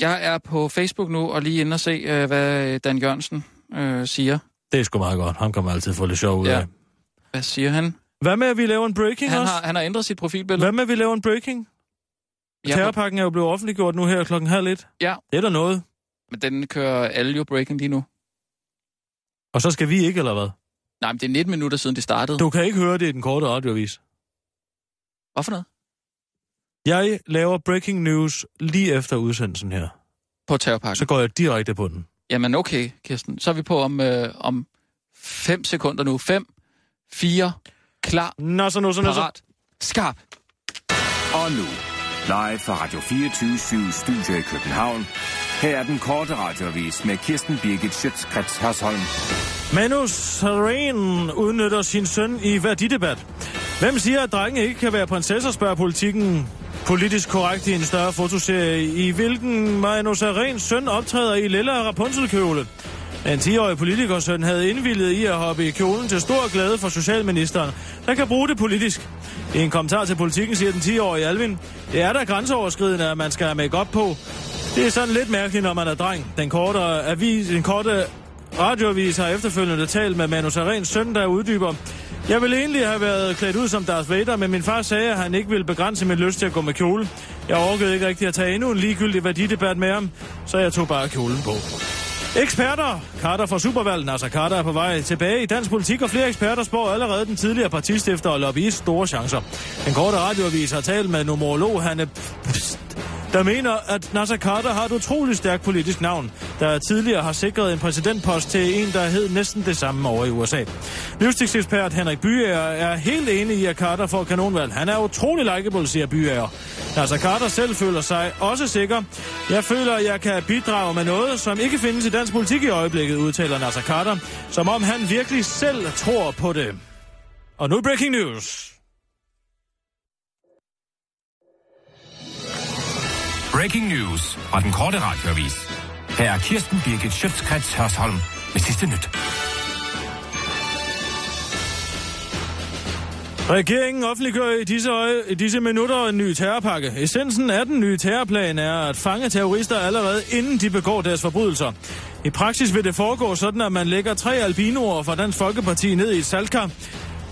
Speaker 5: jeg er på Facebook nu og lige inde og se, øh, hvad øh, Dan Jørgensen øh, siger.
Speaker 4: Det er sgu meget godt. Ham kan man altid få lidt sjov ud
Speaker 5: Ja.
Speaker 4: af.
Speaker 5: Hvad siger han?
Speaker 4: Hvad med, at vi laver en breaking
Speaker 5: Han
Speaker 4: også?
Speaker 5: har, han har ændret sit profilbillede.
Speaker 4: Hvad med, at vi laver en breaking? Ja.
Speaker 5: Ja,
Speaker 4: Terrorpakken er jo blevet offentliggjort nu her klokken halv et.
Speaker 5: Ja.
Speaker 4: Det er der noget.
Speaker 5: men den kører alle jo breaking lige nu.
Speaker 4: Og så skal vi ikke, eller hvad?
Speaker 5: Nej, men det er 19 minutter siden, det startede.
Speaker 4: Du kan ikke høre det i den korte radiovis.
Speaker 5: Hvorfor noget?
Speaker 4: Jeg laver breaking news lige efter udsendelsen her.
Speaker 5: På terrorpakken.
Speaker 4: Så går jeg direkte på den.
Speaker 5: Jamen okay, Kirsten. Så er vi på om, øh, om 5 sekunder nu. 5, 4, klar,
Speaker 4: Nå, så nu, så nu, så.
Speaker 5: parat, skarp.
Speaker 6: Og nu, live fra Radio 24 Studio i København. Her er den korte radiovis med Kirsten Birgit Schøtzgrads Hasholm.
Speaker 4: Manu Seren udnytter sin søn i værdidebat. Hvem siger, at drenge ikke kan være prinsesser, spørger politikken politisk korrekt i en større fotoserie, i hvilken Manu Sarens søn optræder i lilla Rapunzelkjole. En 10-årig politikersøn havde indvildet i at hoppe i kjolen til stor glæde for socialministeren, der kan bruge det politisk. I en kommentar til politikken siger den 10-årige Alvin, det er da grænseoverskridende, at man skal have make op på. Det er sådan lidt mærkeligt, når man er dreng. Den korte, avis, den korte Radioavis har efterfølgende talt med Manu Sarens søn, der uddyber. Jeg ville egentlig have været klædt ud som Darth Vader, men min far sagde, at han ikke ville begrænse min lyst til at gå med kjole. Jeg orkede ikke rigtig at tage endnu en ligegyldig værdidebat med ham, så jeg tog bare kjolen på. Eksperter! Carter fra Supervalg, Nasser Carter er på vej tilbage i dansk politik, og flere eksperter spår allerede den tidligere partistifter og lobbyist store chancer. Den korte radioavis har talt med numerolog Hanne Pst, der mener, at Nasser Carter har et utroligt stærkt politisk navn, der tidligere har sikret en præsidentpost til en, der hed næsten det samme over i USA. Livsstilsekspert Henrik Byager er helt enig i, at Carter får kanonvalg. Han er utrolig likeable, siger Byager. Nasser Carter selv føler sig også sikker. Jeg føler, at jeg kan bidrage med noget, som ikke findes i dansk politik i øjeblikket, udtaler Nasser Carter, som om han virkelig selv tror på det. Og nu breaking news.
Speaker 6: Breaking news fra den korte radiovis. Her er Kirsten Birgit Schøtzgrads Hasholm med sidste nyt.
Speaker 4: Regeringen offentliggør i disse, øje, i disse minutter en ny terrorpakke. Essensen af den nye terrorplan er at fange terrorister allerede inden de begår deres forbrydelser. I praksis vil det foregå sådan, at man lægger tre albinoer fra Dansk Folkeparti ned i et saltkar.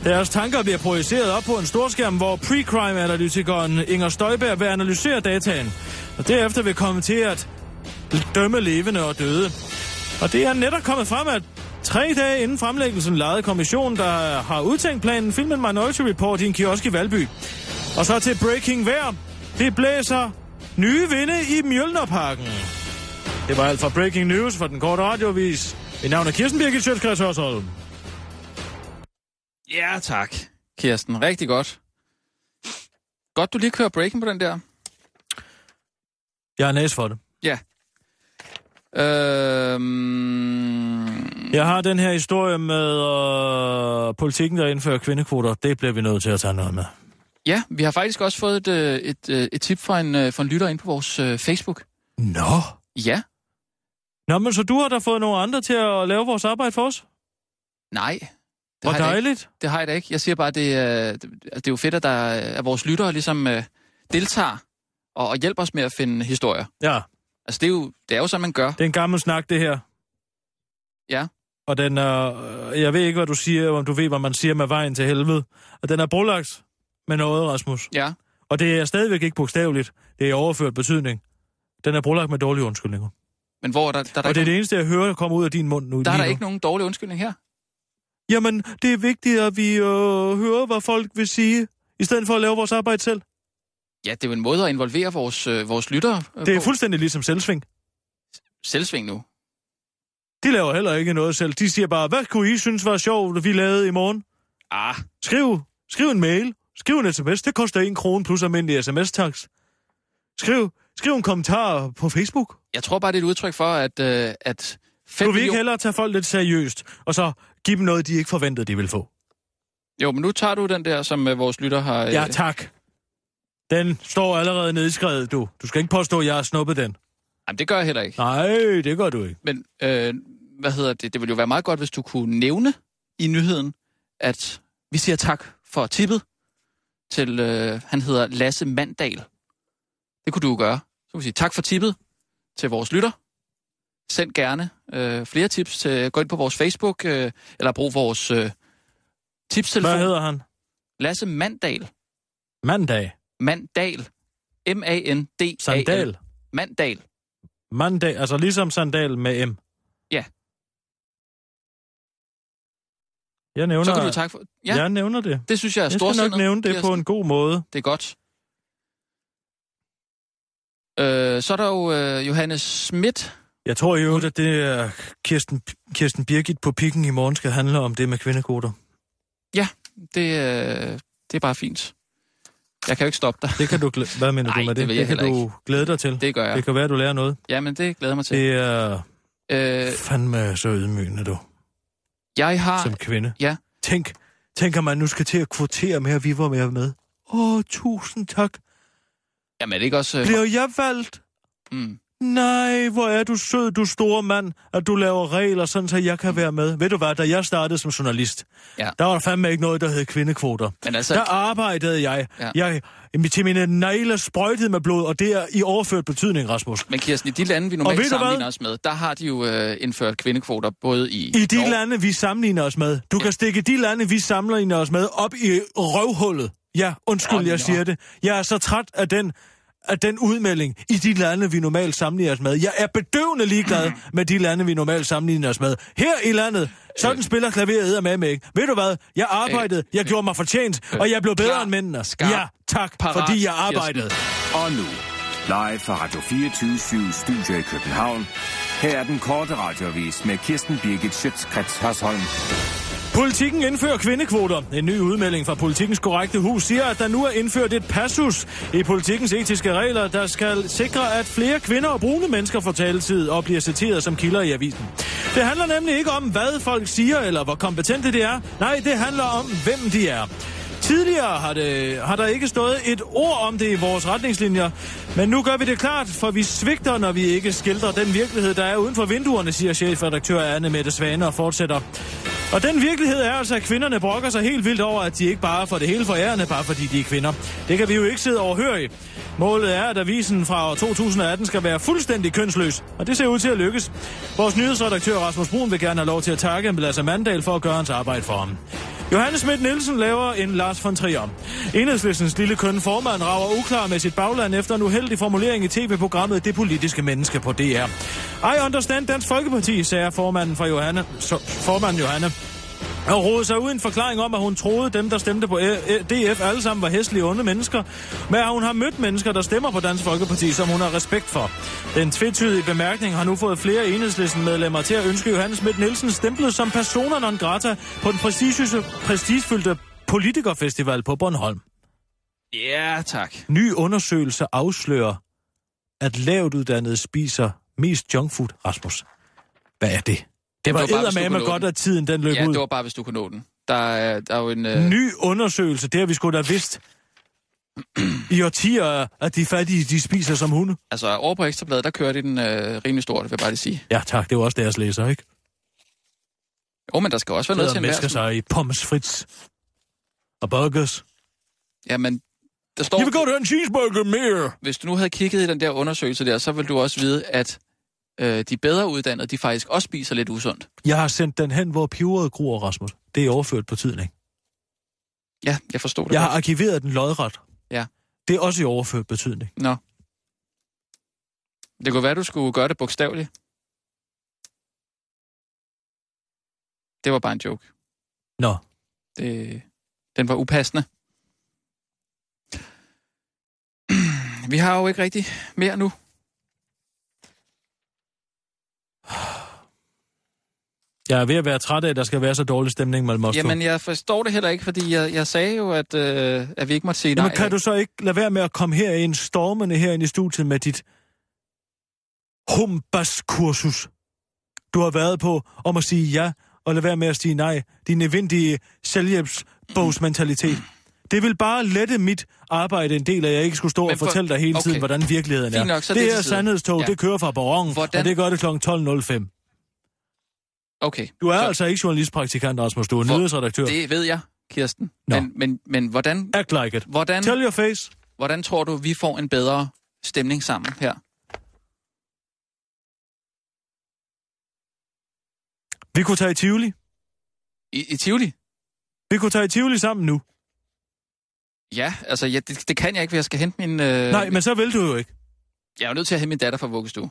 Speaker 4: Deres tanker bliver projiceret op på en storskærm, hvor pre-crime-analytikeren Inger Støjberg vil analysere dataen. Og derefter vil komme til at dømme levende og døde. Og det er netop kommet frem, at tre dage inden fremlæggelsen lejede kommissionen, der har udtænkt planen, filmen Minority Report i en kiosk i Valby. Og så til Breaking Vejr. Det blæser nye vinde i Mjølnerparken. Det var alt fra Breaking News fra den korte radiovis. Mit navn er Kirsten Birgit Sjøtskreds Hørsholm.
Speaker 5: Ja, tak, Kirsten. Rigtig godt. Godt, du lige kører breaking på den der.
Speaker 4: Jeg er næs for det.
Speaker 5: Øhm,
Speaker 4: Jeg har den her historie med øh, politikken, der indfører kvindekvoter. Det bliver vi nødt til at tage noget med.
Speaker 5: ja, vi har faktisk også fået et, øh, et, øh, et tip fra en, øh, fra en lytter ind på vores øh, Facebook.
Speaker 4: Nå.
Speaker 5: Ja,
Speaker 4: Nå, men så du har da fået nogle andre til at lave vores arbejde for os?
Speaker 5: nej. Det
Speaker 4: Hvor
Speaker 5: har jeg da ikke.
Speaker 4: dejligt.
Speaker 5: Det har jeg da ikke. Jeg siger bare, det, øh, det, det er jo fedt, at, der, er- at vores lyttere ligesom øh, deltager og, og hjælper os med at finde historier.
Speaker 4: Ja.
Speaker 5: Altså, det er jo, det er jo sådan, man gør.
Speaker 4: Det er en gammel snak, det her.
Speaker 5: Ja.
Speaker 4: Og den er, øh, jeg ved ikke, hvad du siger, om du ved, hvad man siger med vejen til helvede. Og den er brolagt med noget, Rasmus.
Speaker 5: Ja.
Speaker 4: Og det er stadigvæk ikke bogstaveligt. Det er i overført betydning. Den er brolagt med dårlige undskyldninger.
Speaker 5: Men hvor er der, der, er der,
Speaker 4: og det er
Speaker 5: ikke,
Speaker 4: det eneste, jeg hører, der kommer ud af din mund nu.
Speaker 5: der, er
Speaker 4: lige
Speaker 5: der
Speaker 4: nu.
Speaker 5: ikke nogen dårlig undskyldning her.
Speaker 4: Jamen, det er vigtigt, at vi øh, hører, hvad folk vil sige, i stedet for at lave vores arbejde selv.
Speaker 5: Ja, det er jo en måde at involvere vores, øh, vores lyttere øh,
Speaker 4: Det er
Speaker 5: på.
Speaker 4: fuldstændig ligesom selvsving.
Speaker 5: Selvsving nu.
Speaker 4: De laver heller ikke noget selv. De siger bare, hvad kunne I synes var sjovt, vi lavede i morgen?
Speaker 5: Ah,
Speaker 4: Skriv, skriv en mail. Skriv en sms. Det koster en krone plus almindelig sms-tax. Skriv, skriv en kommentar på Facebook.
Speaker 5: jeg tror bare, det er et udtryk for, at, øh, at 5
Speaker 4: Du vil ikke
Speaker 5: millioner...
Speaker 4: hellere tage folk lidt seriøst, og så give dem noget, de ikke forventede, de ville få.
Speaker 5: Jo, men nu tager du den der, som øh, vores lytter har... Øh,
Speaker 4: Ja, tak. Den står allerede nedskrevet, du. Du skal ikke påstå, at jeg har snuppet den.
Speaker 5: Jamen, det gør jeg heller ikke.
Speaker 4: Nej, det gør du ikke.
Speaker 5: Men øh, hvad hedder det? Det ville jo være meget godt, hvis du kunne nævne i nyheden, at vi siger tak for tippet til, øh, han hedder Lasse Mandal. Det kunne du jo gøre. Så kunne du sige tak for tippet til vores lytter. Send gerne øh, flere tips. Til, gå ind på vores Facebook, øh, eller brug vores øh, tipstelefon.
Speaker 4: Hvad hedder han?
Speaker 5: Lasse Mandal.
Speaker 4: Mandag.
Speaker 5: Mandal. M-A-N-D-A-L.
Speaker 4: Sandal.
Speaker 5: Mandal.
Speaker 4: Mandag, altså ligesom sandal med M.
Speaker 5: Ja.
Speaker 4: Jeg nævner,
Speaker 5: Så kan du tak for... Ja,
Speaker 4: ja.
Speaker 5: ja.
Speaker 4: jeg nævner det.
Speaker 5: det synes jeg er
Speaker 4: Jeg skal nok
Speaker 5: storsindet,
Speaker 4: nævne det på
Speaker 5: Kirsten.
Speaker 4: en god måde.
Speaker 5: Det er godt. Øh, så er der jo øh, Johannes Schmidt.
Speaker 4: Jeg tror jo, at det er Kirsten, Kirsten Birgit på pikken i morgen skal handle om det med kvindekoder.
Speaker 5: Det, øh, det er bare fint. Jeg kan jo ikke stoppe dig.
Speaker 4: Det kan du glæde, hvad mener
Speaker 5: Nej,
Speaker 4: du med
Speaker 5: det
Speaker 4: det?
Speaker 5: vil jeg
Speaker 4: det kan
Speaker 5: heller
Speaker 4: du glæde dig til.
Speaker 5: Det gør jeg.
Speaker 4: det kan være, du lærer noget.
Speaker 5: Jamen, det glæder jeg mig til.
Speaker 4: Det er
Speaker 5: Øh,
Speaker 4: fandme så ydmygende, du,
Speaker 5: jeg
Speaker 4: som
Speaker 5: har...
Speaker 4: kvinde.
Speaker 5: ja.
Speaker 4: Tænk, tænk om man nu skal til at kvotere med, at vi var med med. Åh, tusind tak.
Speaker 5: Jamen, er det ikke også... Øh,
Speaker 4: Bliver jeg valgt?
Speaker 5: mm,
Speaker 4: Nej, hvor er du sød, du store mand, at du laver regler, sådan så jeg kan være med. Ved du hvad, da jeg startede som journalist,
Speaker 5: Mm. Ja.
Speaker 4: der var der fandme ikke noget, der hed kvindekvoter.
Speaker 5: men altså...
Speaker 4: Der arbejdede jeg.
Speaker 5: Ja.
Speaker 4: jeg til mine negle sprøjtede med blod, og det er i overført betydning, Rasmus.
Speaker 5: Men Kirsten, i de lande,
Speaker 4: ved
Speaker 5: vi normalt
Speaker 4: du hvad?
Speaker 5: sammenligner os med, der har de jo øh, indført kvindekvoter både i...
Speaker 4: I de
Speaker 5: Norge-
Speaker 4: lande, vi sammenligner os med. Du kan stikke de lande, vi sammenligner os med, op i røvhullet. Ja, undskyld,
Speaker 5: Nå, nå.
Speaker 4: jeg siger det. Jeg er så træt af den, af den udmelding i de lande, vi normalt sammenligner os med. Jeg er bedøvende ligeglad med de lande, vi normalt sammenligner os med. Her i landet, sådan øh. spiller klaveret med mig ikke. Ved du hvad? Jeg arbejdede, jeg gjorde mig fortjent, og jeg blev bedre
Speaker 5: Øh. Klar,
Speaker 4: end mændene.
Speaker 5: skarp,
Speaker 4: ja, tak,
Speaker 5: parat,
Speaker 4: fordi jeg
Speaker 5: Kirsten.
Speaker 4: arbejdede.
Speaker 6: Og nu, live fra Radio 24 Studio i København. Her er den korte radiovis med Kirsten Birgit Schøtzgrads Hasholm.
Speaker 4: Politikken indfører kvindekvoter. En ny udmelding fra Politikens korrekte hus siger, at der nu er indført et passus i politikens etiske regler, der skal sikre, at flere kvinder og brune mennesker får taletid og bliver citeret som kilder i avisen. Det handler nemlig ikke om, hvad folk siger eller hvor kompetente de er. Nej, det handler om, hvem de er. Tidligere har, det, har der ikke stået et ord om det i vores retningslinjer, men nu gør vi det klart, for vi svigter, når vi ikke skildrer den virkelighed, der er uden for vinduerne, siger chefredaktør Anne Mette Svane og fortsætter. Og den virkelighed er altså, at kvinderne brokker sig helt vildt over, at de ikke bare får det hele for ærende, bare fordi de er kvinder. Det kan vi jo ikke sidde overhørige. Målet er, at avisen fra år 2018 skal være fuldstændig kønsløs, og det ser ud til at lykkes. Vores nyhedsredaktør Rasmus Brun vil gerne have lov til at takke Lasse Mandal for at gøre hans arbejde for ham. Johannes Schmidt Nielsen laver en Lars von Trier. Enhedslistens lille køn formand rager uklar med sit bagland efter en uheldig formulering i tv-programmet Det Politiske Menneske på DR. I understand Dansk Folkeparti, sagde formanden for Johanne, så, formand Johanne. Og rodede sig ud en forklaring om, at hun troede, dem, der stemte på Æ- Æ- DF, alle sammen var hæslige onde mennesker, men at hun har mødt mennesker, der stemmer på Dansk Folkeparti, som hun har respekt for. Den tvetydige bemærkning har nu fået flere enhedslisten medlemmer til at ønske Johannes Schmidt Nielsen stemplet som persona non grata på den prestigefyldte, prestigefyldte politikerfestival på Bornholm.
Speaker 5: Ja, tak.
Speaker 4: Ny undersøgelse afslører, at lavt uddannede spiser mest junkfood, Rasmus. Hvad er det? Det var,
Speaker 5: var bare, hvis
Speaker 4: det
Speaker 5: du
Speaker 4: var eddermame
Speaker 5: kunne nå
Speaker 4: godt,
Speaker 5: den.
Speaker 4: at tiden den løb
Speaker 5: Ja,
Speaker 4: ud.
Speaker 5: det var bare, hvis du kunne nå den. Der er, der er jo en... Øh,
Speaker 4: Ny undersøgelse, det har vi sgu da vidst i årtier, at de fattige, de spiser som hunde.
Speaker 5: Altså, over på Ekstrabladet, der kører de den øh, rimelig stort, vil jeg bare lige sige.
Speaker 4: Ja tak, det er jo også deres læser, ikke?
Speaker 5: Jo, men der skal også være noget til
Speaker 4: Der
Speaker 5: en
Speaker 4: mennesker sig i pommes frites og burgers.
Speaker 5: Ja, men der står...
Speaker 4: Jeg vil godt have en cheeseburger mere.
Speaker 5: Hvis du nu havde kigget i den der undersøgelse der, så ville du også vide, at øh, de bedre uddannede, de faktisk også spiser lidt usundt.
Speaker 4: Jeg har sendt den hen, hvor peberet gror, Rasmus. Det er overført betydning.
Speaker 5: Ja, jeg forstod det.
Speaker 4: Jeg har
Speaker 5: godt.
Speaker 4: arkiveret den lodret.
Speaker 5: Ja.
Speaker 4: Det er også i overført betydning.
Speaker 5: Nå. Det kunne være, du skulle gøre det bogstaveligt. Det var bare en joke.
Speaker 4: Nå,
Speaker 5: Det, den var upassende. Vi har jo ikke rigtig mere nu.
Speaker 4: jeg er ved at være træt af, at der skal være så dårlig stemning mellem os to.
Speaker 5: Jamen, jeg forstår det heller ikke, fordi jeg, jeg sagde jo, at, øh, at vi ikke måtte sige nej.
Speaker 4: Jamen, kan du så ikke lade være med at komme herind, stormende herind i studiet med dit humbas-kursus, du har været på, om at sige ja, og lade være med at sige nej. Din evindelige selvhjælpsbogsmentalitet. Det vil bare lette mit arbejde en del, at jeg ikke skulle stå
Speaker 5: Men
Speaker 4: og
Speaker 5: for-
Speaker 4: fortælle dig hele tiden,
Speaker 5: okay.
Speaker 4: hvordan virkeligheden er.
Speaker 5: Fint nok, så
Speaker 4: det
Speaker 5: det
Speaker 4: her
Speaker 5: til side.
Speaker 4: sandhedstog,
Speaker 5: Ja.
Speaker 4: det kører fra barongen,
Speaker 5: Hvordan-
Speaker 4: og det gør det kl. 12.05.
Speaker 5: Okay.
Speaker 4: Du er
Speaker 5: så-
Speaker 4: altså ikke journalistpraktikant, Rasmus. Du er
Speaker 5: Hvor-
Speaker 4: nyhedsredaktør. Det...
Speaker 5: Det ved jeg, Kirsten.
Speaker 4: Nå.
Speaker 5: Men, men, men hvordan,
Speaker 4: Act like it.
Speaker 5: hvordan,
Speaker 4: Tell your face.
Speaker 5: hvordan tror du, vi får en bedre stemning sammen her?
Speaker 4: Vi kunne tage i Tivoli.
Speaker 5: I, i Tivoli?
Speaker 4: Vi kunne tage i Tivoli sammen nu.
Speaker 5: Ja, altså ja, det, det kan jeg ikke, for jeg skal hente min... Øh,
Speaker 4: Nej, men så vil du jo ikke.
Speaker 5: Jeg er jo nødt til at hente min datter fra vuggestue.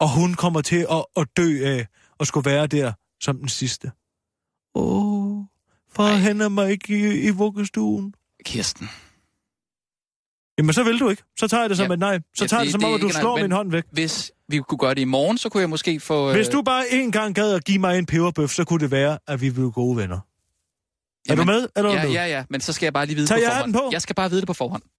Speaker 4: Og hun kommer til at, at dø af at skulle være der som den sidste. Åh, far
Speaker 5: Ej.
Speaker 4: hænder mig ikke i, i vuggestuen.
Speaker 5: Kirsten.
Speaker 4: Jamen, så vil du ikke. Så tager jeg det som
Speaker 5: Ja.
Speaker 4: ja. et nej. Så
Speaker 5: Ja,
Speaker 4: ja, tager jeg
Speaker 5: det-
Speaker 4: det som
Speaker 5: det
Speaker 4: om,
Speaker 5: er
Speaker 4: at du
Speaker 5: ikke en-
Speaker 4: slår
Speaker 5: men- Øh.
Speaker 4: min hånd væk.
Speaker 5: Hvis vi kunne gøre det i morgen, så kunne jeg måske få...
Speaker 4: Hvis du bare en gang gad at give mig en peberbøf, så kunne det være, at vi blev gode venner. Er
Speaker 5: øh, Jamen,
Speaker 4: du med, eller er
Speaker 5: Ja,
Speaker 4: du
Speaker 5: ja, ja, men så skal jeg bare lige vide
Speaker 4: Tager
Speaker 5: på
Speaker 4: jeg
Speaker 5: forhånd.
Speaker 4: hatten på?
Speaker 5: Jeg skal bare vide det på forhånd.